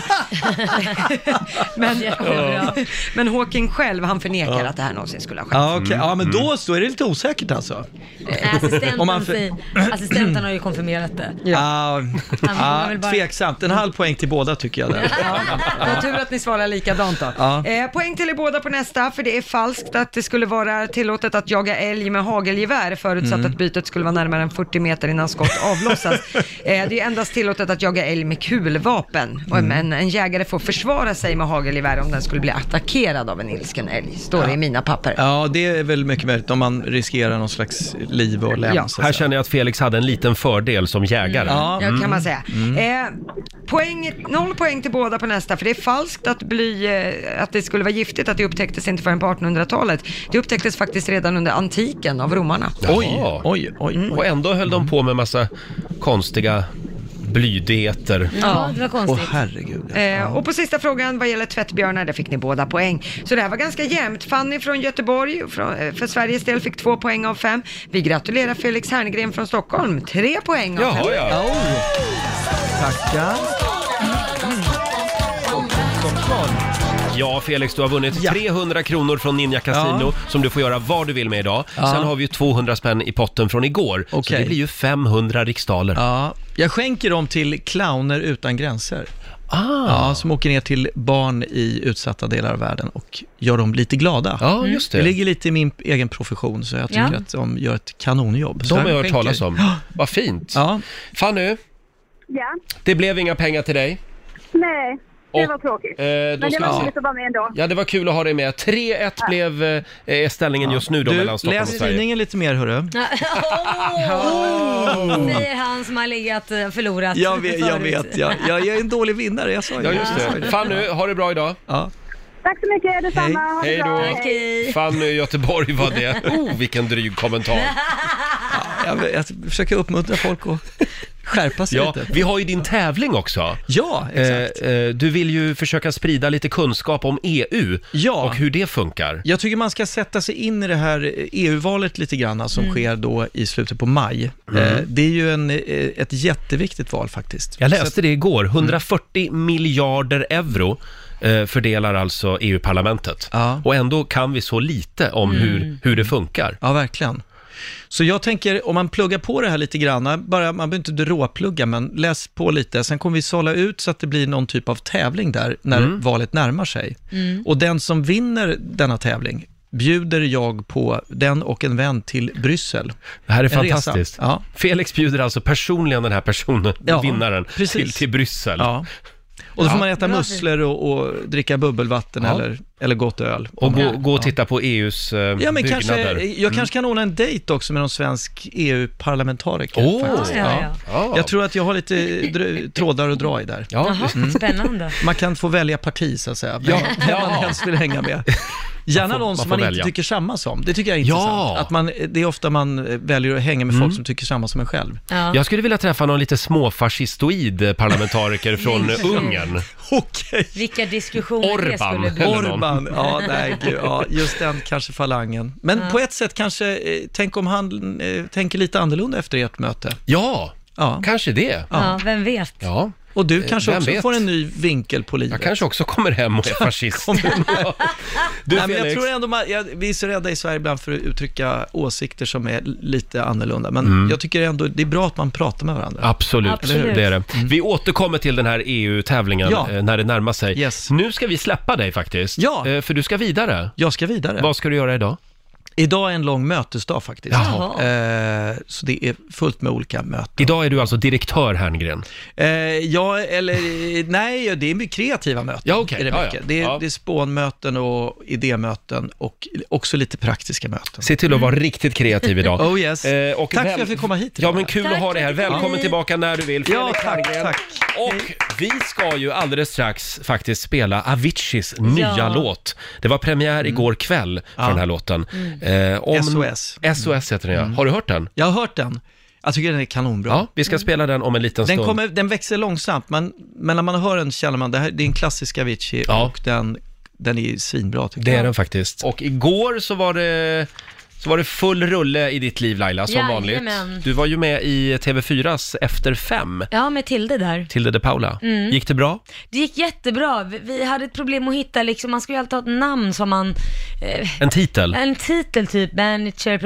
B: men,
C: Jättebra.
B: men Hawking själv, han förnekar att det här någonsin skulle ha skett.
G: Ja, okej. ja,
A: Mm.
G: men då så är det lite osäkert alltså.
C: Nej, Assistenten,
G: Om man för-
C: säger- assistenten har ju konfirmerat det.
G: Ja.
C: Han vill
G: Ah,
C: bara-
G: tveksamt. En halv poäng till båda tycker jag. Där.
B: Vad tur att ni svarar likadant då.
G: Ja.
B: Eh, poäng till er båda på nästa, för det är falskt att det skulle vara tillåtet att jaga älg med hagelgevär förutsatt
A: Mm.
B: att bytet skulle vara närmare än 40 meter innan skott avlossas. eh, det är endast tillåtet att jaga älg med kulvapen, och-
O: Mm.
B: men en jägare får försvara sig med hagelgevär om den skulle bli attackerad av en ilsken älg, står det i mina papper.
G: Ja, det är väl mycket möjligt om man riskerar någon slags liv och lem.
B: Ja.
G: så att
A: Här
G: säga.
A: känner jag att Felix hade en liten fördel som jägare.
B: Ja, kan man säga.
A: Mm.
B: Eh, poäng, noll poäng till båda på nästa, för det är falskt att bly, eh, att det skulle vara giftigt, att det upptäcktes inte förrän på 1800-talet. Det upptäcktes faktiskt redan under antiken av romarna.
A: Oj,
G: oj, oj.
B: Mm.
A: Och ändå höll de på med massa konstiga blydieter.
B: Ja, det var konstigt.
A: Åh, herregud.
B: Eh, och på sista frågan vad gäller tvättbjörnar, där fick ni båda poäng. Så det här var ganska jämnt. Fanny från Göteborg från, eh, för Sveriges del fick två poäng av fem. Vi gratulerar Felix Herngren från Stockholm, tre poäng av fem.
F: Jaha, ja.
G: Tackar.
A: Ja, Felix, du har vunnit 300 kronor från Ninja Casino som du får göra vad du vill med idag.
G: Ja.
A: Sen har vi ju 200 spänn i potten från igår, så
G: Okej.
A: det blir ju 500 riksdaler.
G: Ja, jag skänker dem till Clowner utan gränser.
A: Ah.
G: Ja, som åker ner till barn i utsatta delar av världen och gör dem lite glada. Mm.
A: Ja, just det.
G: det ligger lite i min egen profession, så jag tycker
A: Ja.
G: att de gör ett kanonjobb. Så
A: De har jag hört
G: skänker-
A: talas om. Vad fint.
G: Ja.
A: Fanny,
N: Ja,
A: det blev inga pengar till dig.
N: nej, det
A: Och,
N: var tråkigt.
A: eh, då
N: Men det
A: ska vi
N: var
A: se.
N: roligt att vara med ändå.
A: Ja, det var kul att ha dig med. 3-1 blev eh, eh, ställningen just nu då
G: Du,
A: mellan Stockholm och
G: läs
A: Sverige.
G: tidningen lite mer hörru.
C: Oh, säger han som har legat eh, förlorat
G: Jag vet, jag,
C: förut.
G: vet. Jag, jag, jag är en dålig vinnare, jag sa ju
A: Ja, just
G: Jag sa ju
A: det. Fanny, ha det bra idag.
G: Ja.
N: Tack så mycket, detsamma. Ha det
A: Hej
N: bra.
A: då. Fanny i Göteborg var det. Oh, vilken dryg kommentar.
G: Jag, jag försöker uppmuntra folk att skärpa sig
A: Ja,
G: lite.
A: vi har ju din tävling också.
G: Ja,
A: exakt. du vill ju försöka sprida lite kunskap om EU och hur det funkar.
G: Jag tycker man ska sätta sig in i det här E EU-valet lite grann, alltså, som
A: Mm.
G: sker då i slutet på maj.
A: Mm.
G: Eh, Det är ju en, eh, ett jätteviktigt val faktiskt.
A: Jag
G: Så Mm.
A: läste det igår, 140 miljarder euro eh, fördelar alltså EU-parlamentet. Och ändå kan vi så lite om
G: Mm.
A: hur, hur det funkar.
G: Ja, verkligen. Så jag tänker, om man pluggar på det här lite grann, bara, man behöver inte råplugga, men läs på lite. Sen kommer vi sålla ut så att det blir någon typ av tävling där, när
F: Mm.
G: valet närmar sig.
F: Mm.
G: Och den som vinner denna tävling bjuder jag på den och en vän till Bryssel.
A: Det här är
G: En resa.
A: fantastiskt.
G: Ja.
A: Felix bjuder alltså personligen den här personen,
G: Ja,
A: vinnaren, till, till Bryssel.
G: Ja. Och då får
A: Ja.
G: man äta
A: Bra.
G: musslor och, och dricka bubbelvatten
A: Ja.
G: eller, eller gott öl.
A: Och gå,
G: Ja.
A: gå och titta på EUs eh,
G: Ja, men
A: byggnader. Mm.
G: kanske, jag kanske kan ordna en dejt också med någon svensk EU-parlamentariker.
A: Åh.
G: faktiskt.
A: Ja, ja, ja.
G: Jag tror att jag har lite drö- trådar att dra i där.
C: Jaha,
A: Mm.
C: spännande.
G: Man kan få välja parti, så att säga.
C: Ja.
G: Vem vem man
C: Ja.
G: helst vill hänga med. Gärna
A: Man får-
G: någon
A: man
G: som
A: får
G: man inte
A: välja.
G: tycker samma som. Det tycker jag är intressant. Att man, det är ofta man eh, väljer att hänga med folk som tycker samma som en själv.
C: Ja.
A: Mm. Jag skulle vilja träffa någon lite småfascistoid parlamentariker från
C: Nej.
A: Ungern.
G: Okej.
C: Vilka diskussioner det
A: Orban
C: skulle bli.
A: eller någon.
G: Orban, ja, nej, gud, ja, just den kanske falangen. Men
C: Ja.
G: på ett sätt kanske, eh, tänk om han eh, tänker lite annorlunda efter ert möte.
A: Ja, kanske det.
C: Ja, vem vet.
A: Ja.
G: Och du
A: Eh,
G: kanske
A: vem
G: också
A: vet?
G: får en ny vinkel på livet.
A: Jag kanske också kommer hem och är fascist. Du,
G: Nej, men jag
A: Felix.
G: tror ändå man, jag, vi är så rädda i Sverige ibland för att uttrycka åsikter som är lite annorlunda, men
A: Mm.
G: jag tycker ändå det är bra att man pratar med varandra.
A: Absolut,
G: Eller hur?
A: det är det. Vi återkommer till den här EU-tävlingen
G: Mm. Ja.
A: eh, när det närmar sig. Nu ska vi släppa dig faktiskt, ja. för du ska vidare.
G: Jag ska vidare.
A: Vad ska du göra idag?
G: Idag är en lång mötesdag faktiskt,
A: Jaha.
G: eh, så det är fullt med olika möten.
A: Idag är du alltså direktör Herngren.
G: Eh, ja, eller eh, nej, det är mycket kreativa möten.
A: Ja, okej.
G: är det,
A: Ja,
G: mycket.
A: ja.
G: Det, är,
A: Ja.
G: det är spånmöten och idémöten och också lite praktiska möten.
A: Se till att vara riktigt kreativ idag.
G: Oh yes.
A: Eh, och
G: tack för
A: väl-
G: att jag fick komma hit.
A: Ja, men kul
G: Tack
A: att ha dig
G: för
A: här.
G: att du kom
A: Välkommen
G: hit.
A: tillbaka när du vill.
G: Ja,
A: Felix
G: tack,
A: Herngren.
G: tack.
A: Och vi ska ju alldeles strax faktiskt spela Aviciis nya
G: Ja.
A: låt. Det var
G: Mm.
A: premiär igår kväll för den här låten. Eh,
G: SOS.
A: SOS heter den ja. Har du hört den?
G: Mm. Jag har hört den. Jag tycker den är kanonbra.
A: Ja, vi ska spela den om en liten
G: Den,
A: stund.
G: kommer, den växer långsamt, men, men när man hör den känner man det här det är en klassisk Avicii och den, den är svinbra tycker
A: Det
G: jag.
A: är den faktiskt. Och igår så var det så var det full rulle i ditt liv Laila, som
C: Jajamän.
A: vanligt. Du var ju med i TV4s Efter fem,
C: Ja, med Tilde där.
A: Tilde de Paula.
C: Mm.
A: Gick det bra?
C: Det gick jättebra. Vi- Vi hade ett problem att hitta, liksom, man ska ju alltid ha ett namn som man... eh,
A: En titel?
C: En titel typ, manager,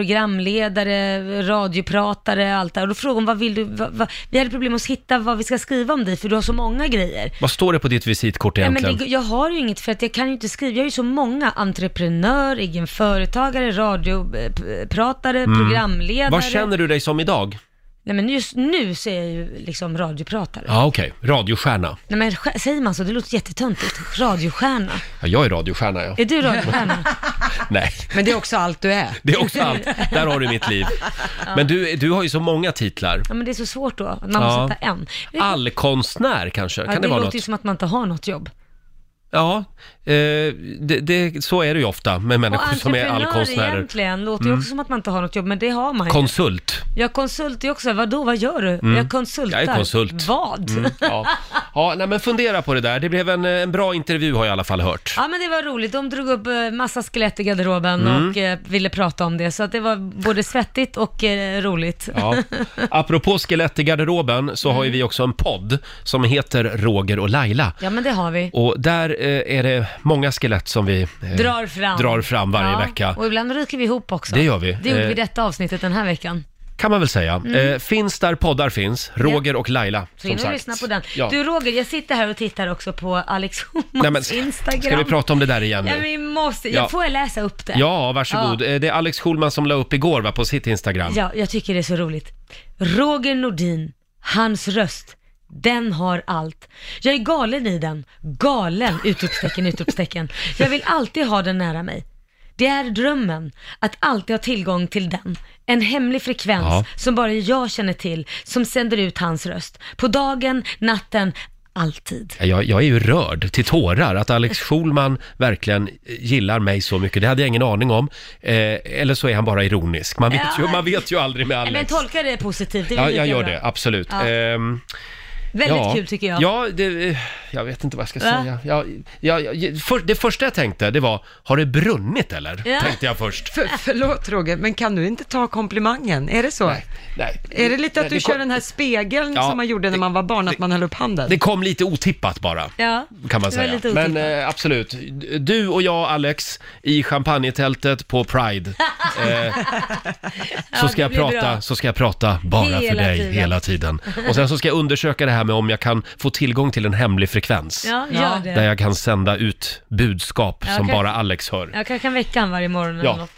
C: programledare, radiopratare, allt det här. Och då frågade hon, vad vill du, vad, vad, vi hade problem att hitta vad vi ska skriva om dig, för du har så många grejer.
A: Vad står det på ditt visitkort
C: Nej, men
A: egentligen?
C: det, jag har ju inget för att jag kan ju inte skriva. Jag är ju så många entreprenör, egen företagare, radio, eh, radiopratare,
A: Mm.
C: programledare.
A: Vad känner du dig som idag?
C: Nej men just nu så är jag ju liksom radiopratare.
A: Ja, okej. Radiostjärna.
C: Nej men sk- säger man så? Det låter jättetöntigt. Radiostjärna.
A: Ja, jag är radiostjärna, ja.
C: Är du radiostjärna?
A: Nej,
B: Men det är också allt du är.
A: det är också allt. Där har du mitt liv. Men du, du har ju så många titlar.
C: Ja men det är så svårt då, att man
A: Ja.
C: måste ta en.
A: Allkonstnär kanske?
C: Ja,
A: Kan det, vara
C: låter
A: något?
C: ju som att man inte har något jobb.
A: Ja, eh, det, det, så är det ju ofta med människor som är allkonstnärer.
C: egentligen låter ju
A: Mm.
C: också som att man inte har något jobb, men det har man ju.
A: Konsult.
C: Jag konsultar ju också, vadå, vad gör du?
A: Mm.
C: Jag konsultar.
A: Jag är konsult.
C: Vad?
A: Mm, ja, ja nej, men fundera på det där. Det blev en, eh, en bra intervju har jag i alla fall hört.
C: Ja men det var roligt, de drog upp eh, massa skelett i garderoben
A: Mm.
C: och eh, ville prata om det. Så att det var både svettigt och eh, roligt.
A: Ja. Apropå skelett i garderoben så har ju vi också en podd som heter Roger och Laila.
C: Ja, men det har vi.
A: Och där eh, är det många skelett som vi eh,
C: Drar fram.
A: drar fram varje
C: Ja,
A: vecka.
C: Och ibland ryker vi ihop också.
A: Det gör vi.
C: Det gjorde
A: Eh,
C: vi i detta avsnittet den här veckan.
A: Kan man väl säga.
C: Mm.
A: Eh, finns där poddar finns. Roger och Laila,
C: Så in
A: som
C: och
A: sagt.
C: lyssna på den.
A: Ja.
C: Du Roger, jag sitter här och tittar också på Alex Schulmans
A: Nej, men,
C: Instagram.
A: Ska vi prata om det där igen
C: Ja,
A: nu?
C: vi måste.
A: Ja.
C: Jag får jag läsa upp det?
A: Ja, varsågod.
C: Ja.
A: Eh, Det är Alex Schulman som la upp igår va, på sitt Instagram.
C: Ja, jag tycker det är så roligt. Roger Nordin, hans röst, den har allt. Jag är galen i den. Galen! Utropstecken, utropstecken. Jag vill alltid ha den nära mig. Det är drömmen, att alltid ha tillgång till den. En hemlig frekvens
O: Ja.
C: som bara jag känner till, som sänder ut hans röst. På dagen, natten, alltid.
A: Jag, jag är ju rörd till tårar att Alex Schulman verkligen gillar mig så mycket. Det hade jag ingen aning om. Eh, eller så är han bara ironisk. Man vet,
C: Ja.
A: ju, man vet ju aldrig med
C: Men
A: Alex.
C: tolka det positivt, det är
A: Ja,
C: väl
A: jag
C: lika
A: gör
C: bra.
A: det, absolut.
C: Ja.
A: Ehm,
C: Väldigt kul tycker jag.
A: Ja, det, eh, jag vet inte vad jag ska
C: Va?
A: säga. Jag, jag, jag, för, det första jag tänkte, det var, har det brunnit eller?
B: Ja.
A: Tänkte jag först.
B: För, förlåt Roger, men kan du inte ta komplimangen? Är det så? Nej,
A: nej.
B: Är det lite att
A: Nej,
B: du
A: det
B: kör
A: kom-
B: den här spegeln
A: Ja,
B: som man gjorde när man var barn, att man höll upp handen?
A: Det kom lite otippat bara.
C: Ja,
A: kan man
B: Det var
A: säga.
B: lite otippat.
A: Men eh, absolut, du och jag Alex i champagnetältet på Pride. Eh, så,
C: Ja,
A: ska
C: det
A: jag
C: blir
A: prata,
C: bra.
A: så ska jag prata bara för
C: Hela
A: dig
C: tiden.
A: hela tiden. Och sen så ska jag undersöka det här med om jag kan få tillgång till en hemlig frekvens.
C: Ja, gör det.
A: Där jag kan sända ut budskap
C: Ja,
A: som
C: okej.
A: bara Alex hör.
C: Jag kanske kan väcka honom varje morgon eller
A: Ja.
C: något.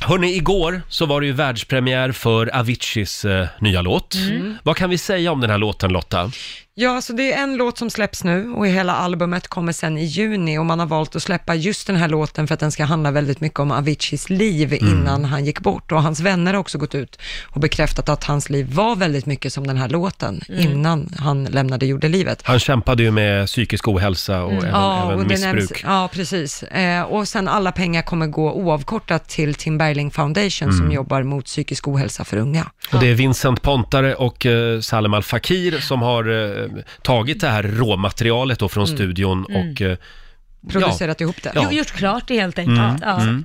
A: Hörni, igår så var det ju världspremiär för Aviciis eh, nya låt.
B: Mm.
A: Vad kan vi säga om den här låten Lotta?
B: Ja, så det är en låt som släpps nu och hela albumet kommer sen i juni och man har valt att släppa just den här låten för att den ska handla väldigt mycket om Aviciis liv
A: Mm.
B: innan han gick bort och hans vänner har också gått ut och bekräftat att hans liv var väldigt mycket som den här låten innan han lämnade jordelivet.
A: Han kämpade ju med psykisk ohälsa och
B: Mm.
A: även, även
B: och det
A: missbruk.
B: nämns- ja, precis. Eh, och sen alla pengar kommer gå oavkortat till Tim Bergling Foundation som
A: Mm.
B: jobbar mot psykisk ohälsa för unga.
A: Och det är Vincent Pontare och eh, Salem Al Fakir som har eh, tagit det här råmaterialet då från
C: Mm.
A: studion
C: Mm.
A: och... Eh,
B: Producerat
A: ja.
B: ihop det.
A: Ja.
C: Jo, Gjort klart det helt enkelt.
A: Mm,
C: Ja.
A: mm.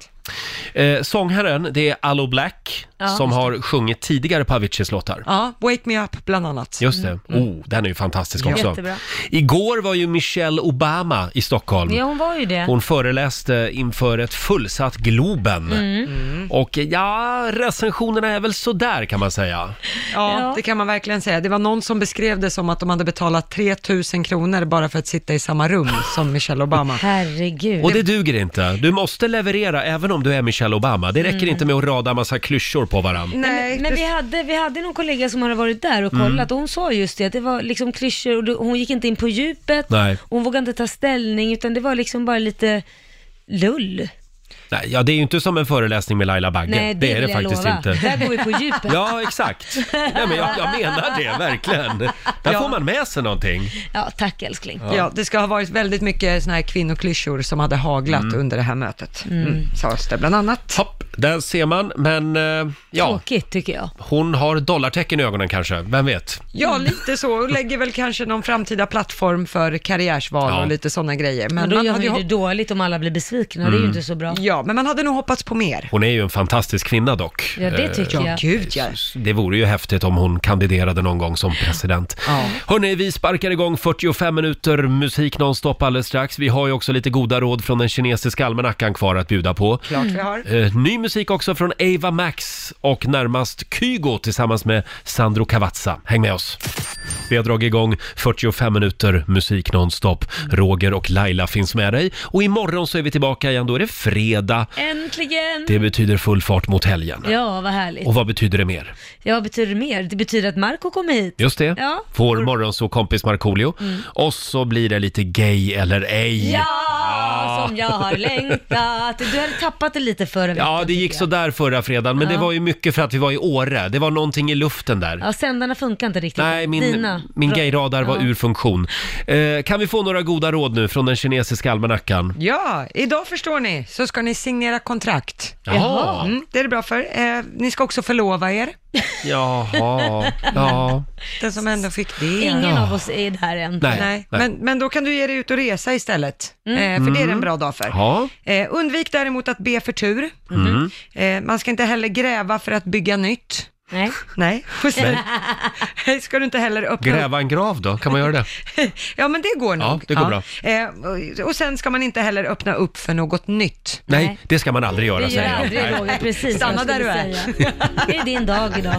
A: Eh, sångherren, det är Allo Black
B: Ja,
A: som
B: just
A: har sjungit tidigare på Aviciis låtar.
B: Ja, Wake Me Up bland annat.
A: Just det.
B: Mm.
A: Oh, den är ju fantastisk
B: Ja.
A: också.
B: Jättebra.
A: Igår var ju Michelle Obama i Stockholm.
C: Ja, hon var ju det.
A: Hon föreläste inför ett fullsatt Globen.
C: Mm.
A: Och ja, recensionerna är väl sådär kan man säga.
B: Ja, det kan man verkligen säga. Det var någon som beskrev det som att de hade betalat 3 000 kronor bara för att sitta i samma rum som Michelle Obama. Mm.
C: Herregud.
A: Och det duger inte. Du måste leverera även om du är Michelle Obama. Det räcker
C: Mm.
A: inte med att rada massa klyschor på
B: Mm.
A: varandra.
C: Nej, men men vi, hade, vi hade någon kollega som hade varit där och
A: Mm.
C: kollat och hon sa just det, att det var liksom klyschor och det- hon gick inte in på djupet,
A: Nej.
C: hon vågade inte ta ställning utan det var liksom bara lite lull.
A: Nej, ja, det är ju inte som en föreläsning med Laila Bagge.
C: Nej, det
A: är det
C: vill jag
A: faktiskt
C: lova.
A: inte.
C: Där går vi på djupet.
A: Ja, exakt. Nej, men jag, jag menar det, verkligen. Där
B: Ja.
A: får man med sig någonting.
C: Ja, tack älskling.
B: Ja. det ska ha varit väldigt mycket såna här kvinnoklyschor som hade haglat under det här mötet. Mm. Sades det bland annat.
A: Hopp, där ser man, men eh, ja,
C: Tråkigt tycker jag.
A: hon har dollartecken i ögonen kanske, vem vet?
C: Mm.
B: Ja, lite så. Och lägger väl kanske någon framtida plattform för karriärsval
A: Ja.
B: och lite sådana grejer.
C: Men, då
B: man
C: gör
B: hade
C: man ju
B: ju
C: det dåligt om alla blir besvikna, det är ju
A: Mm.
C: inte så bra.
B: Ja, men man hade nog hoppats på mer.
A: Hon är ju en fantastisk kvinna dock.
C: Ja, det tycker
A: Eh,
C: jag.
B: Gud ja.
A: Det vore ju häftigt om hon kandiderade någon gång som president.
B: Ja.
A: Hörni, vi sparkar igång 45 minuter musik nonstop alldeles strax. Vi har ju också lite goda råd från den kinesiska almanackan kvar att bjuda på.
B: Klart vi har.
A: Eh, Ny musik också från Ava Max och närmast Kygo tillsammans med Sandro Cavazza. Häng med oss! Vi har dragit igång 45 minuter musik nonstop. Roger och Laila finns med dig. Och imorgon så är vi tillbaka igen. Då är det fredag.
C: Äntligen!
A: Det betyder full fart mot helgen.
C: Ja, vad härligt.
A: Och vad betyder det mer?
C: Ja, vad betyder det mer? Det betyder att Marco kommer hit.
A: Just det.
C: Ja.
A: Vår morgonsåkompis Markoolio.
C: Mm.
A: Och så blir det lite gay eller ej.
C: Ja, som jag har längtat. Du hade tappat det lite förra veckan.
A: Ja, det gick så där förra fredagen, men
C: Ja.
A: det var ju mycket för att vi var i Åre. Det var någonting i luften där.
C: Ja, sändarna funkar inte riktigt.
A: Nej, min,
C: Dina.
A: min
C: Bra.
A: gayradar var
C: Ja.
A: ur funktion. Eh, kan vi få några goda råd nu från den kinesiska almanackan?
D: Ja, idag förstår ni så ska ni signera kontrakt.
A: Jaha.
D: Mm, det är det bra för. Eh, ni ska också förlova er.
A: Jaha, ja.
D: Den som ändå fick det.
C: Ingen av oss är där än.
A: Nej, nej.
D: Men, men då kan du ge dig ut och resa istället, eh, för det är
A: Mm.
D: en bra dag för.
A: Ja.
D: Eh, undvik däremot att be för tur.
A: Mm.
D: Eh, man ska inte heller gräva för att bygga nytt.
C: Nej.
D: Nej. Och sen- ska du inte heller öppna upp
A: Gräva en grav då, kan man göra det?
D: Ja, men det går nog.
A: Ja, det går bra.
D: Eh, och- och sen ska man inte heller öppna upp för något nytt.
A: Nej, det ska man aldrig göra
D: Det gör
A: säger jag.
D: aldrig
A: Nej.
C: Roger, precis vad
D: Stanna
C: jag
D: där du
C: skulle
D: är.
C: säga. Det är din dag idag.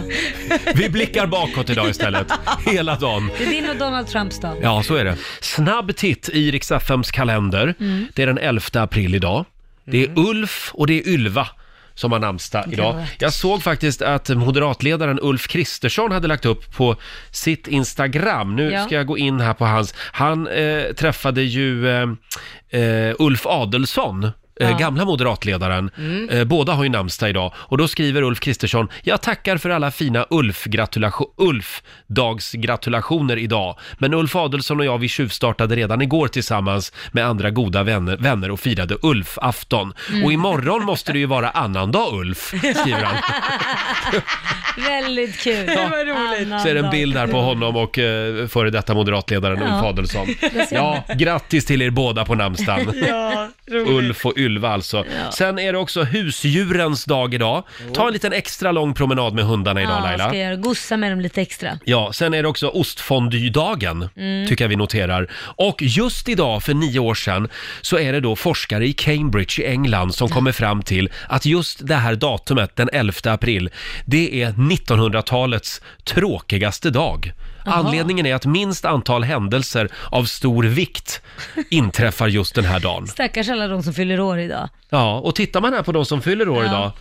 A: Vi blickar bakåt idag istället, hela dagen.
C: Det är din och Donald Trumps dag.
A: Ja, så är det. Snabb titt i Rix FMs kalender.
C: Mm.
A: Det är den 11 april idag. Det är Ulf och det är Ylva som har namnsdag idag.
H: Grattis.
A: Jag såg faktiskt att moderatledaren Ulf Kristersson hade lagt upp på sitt Instagram. Nu
H: Ja.
A: ska jag gå in här på hans. Han eh, träffade ju eh, eh, Ulf Adelsohn. eh,
H: Ja.
A: Gamla moderatledaren.
H: Mm.
A: Eh, båda har ju namnsdag idag. Och då skriver Ulf Kristersson, jag tackar för alla fina Ulf-gratulation- Ulf-dagsgratulationer idag. Men Ulf Adelsohn och jag, vi tjuvstartade redan igår tillsammans med andra goda vänner, vänner och firade Ulf-afton.
C: Mm.
A: Och imorgon måste det ju vara annandag Ulf, skriver han.
C: Väldigt kul.
A: Ja.
C: Det var roligt.
A: Så är det en bild här på honom och eh, före detta moderatledaren
C: Ja.
A: Ulf Adelsohn.
C: Där ser
A: Ja, grattis till er båda på namnsdagen.
C: Ja,
A: Ulf och Ylva alltså.
C: Ja.
A: Sen är det också husdjurens dag idag. Ta en liten extra lång promenad med hundarna idag
C: Ja,
A: Laila.
C: ska jag göra. Gossa med dem lite extra.
A: Ja, sen är det också ostfondydagen,
C: Mm.
A: tycker jag vi noterar. Och just idag, för nio år sedan, så är det då forskare i Cambridge i England som kommer fram till att just det här datumet, den 11 april, det är 1900-talets tråkigaste dag.
H: Jaha.
A: Anledningen är att minst antal händelser av stor vikt inträffar just den här dagen.
C: Stackars alla de som fyller år idag.
A: Ja, och tittar man här på de som fyller år
C: Ja.
A: idag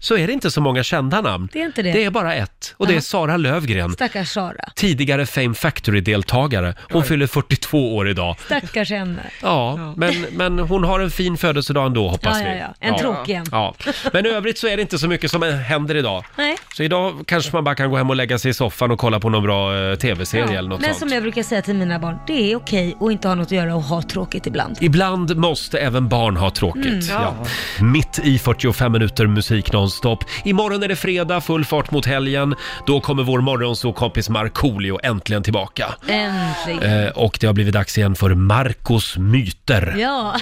A: så är det inte så många kända namn.
C: Det är inte det.
A: Det är bara ett och det är
C: Ja.
A: Sara Lövgren.
C: Stackars Sara.
A: Tidigare Fame Factory-deltagare. Hon fyller 42 år idag.
C: Stackars henne.
A: Ja, men, men hon har en fin födelsedag ändå hoppas
C: Ja,
A: vi.
C: ja, ja. En tråkig en.
A: Ja. Men i övrigt så är det inte så mycket som händer idag.
C: Nej.
A: Så idag kanske man bara kan gå hem och lägga sig i soffan och kolla på någon bra eh, tv-serie eller något
C: Men
A: sånt.
C: som jag brukar säga till mina barn, det är okej att inte ha något att göra och ha tråkigt ibland.
A: Ibland måste även barn ha tråkigt.
C: Mm.
A: ja.
C: Ja.
A: Mitt i 45 minuter musik nonstop. Imorgon är det fredag, full fart mot helgen. Då kommer vår morgonsåkompis Markoolio äntligen tillbaka.
C: Äntligen.
A: Eh, och det har blivit dags igen för Marcos myter.
C: Ja.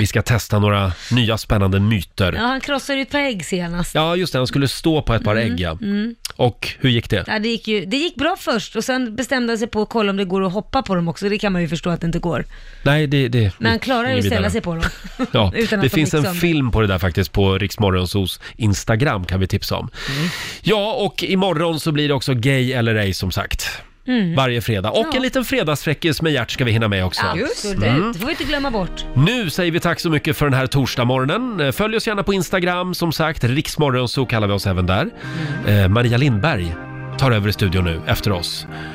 A: Vi ska testa några nya spännande
C: ja,
A: myter.
C: han krossade ju ett par ägg senast.
A: Ja, just det. Han skulle stå på ett par ägg, ja.
C: Mm.
A: Och hur gick det?
C: Ja, det, gick ju, det gick bra först och sen bestämde han sig på att kolla om det går att hoppa på dem också. Det kan man ju förstå att det inte går.
A: Nej, det... det
C: Men han klarar ju
A: inget
C: att ställa
A: vidare.
C: sig på dem.
A: Ja,
C: Utan att
A: det
C: de
A: finns en
C: liksom-
A: film på det där faktiskt på Riksmorgonsos Instagram kan vi tipsa om.
C: Mm.
A: Ja, och imorgon så blir det också Gay eller ej som sagt.
C: Mm.
A: Varje fredag. Och
C: Ja.
A: en liten fredagsfräckis med Gert ska vi hinna med också.
C: Absolut,
A: Mm.
C: det får vi inte glömma bort.
A: Nu säger vi tack så mycket för den här torsdagmorgonen. Följ oss gärna på Instagram, som sagt.
C: Mm.
A: Riksmorgonso kallar vi oss även där. Eh, Maria Lindberg tar över i studion nu efter oss.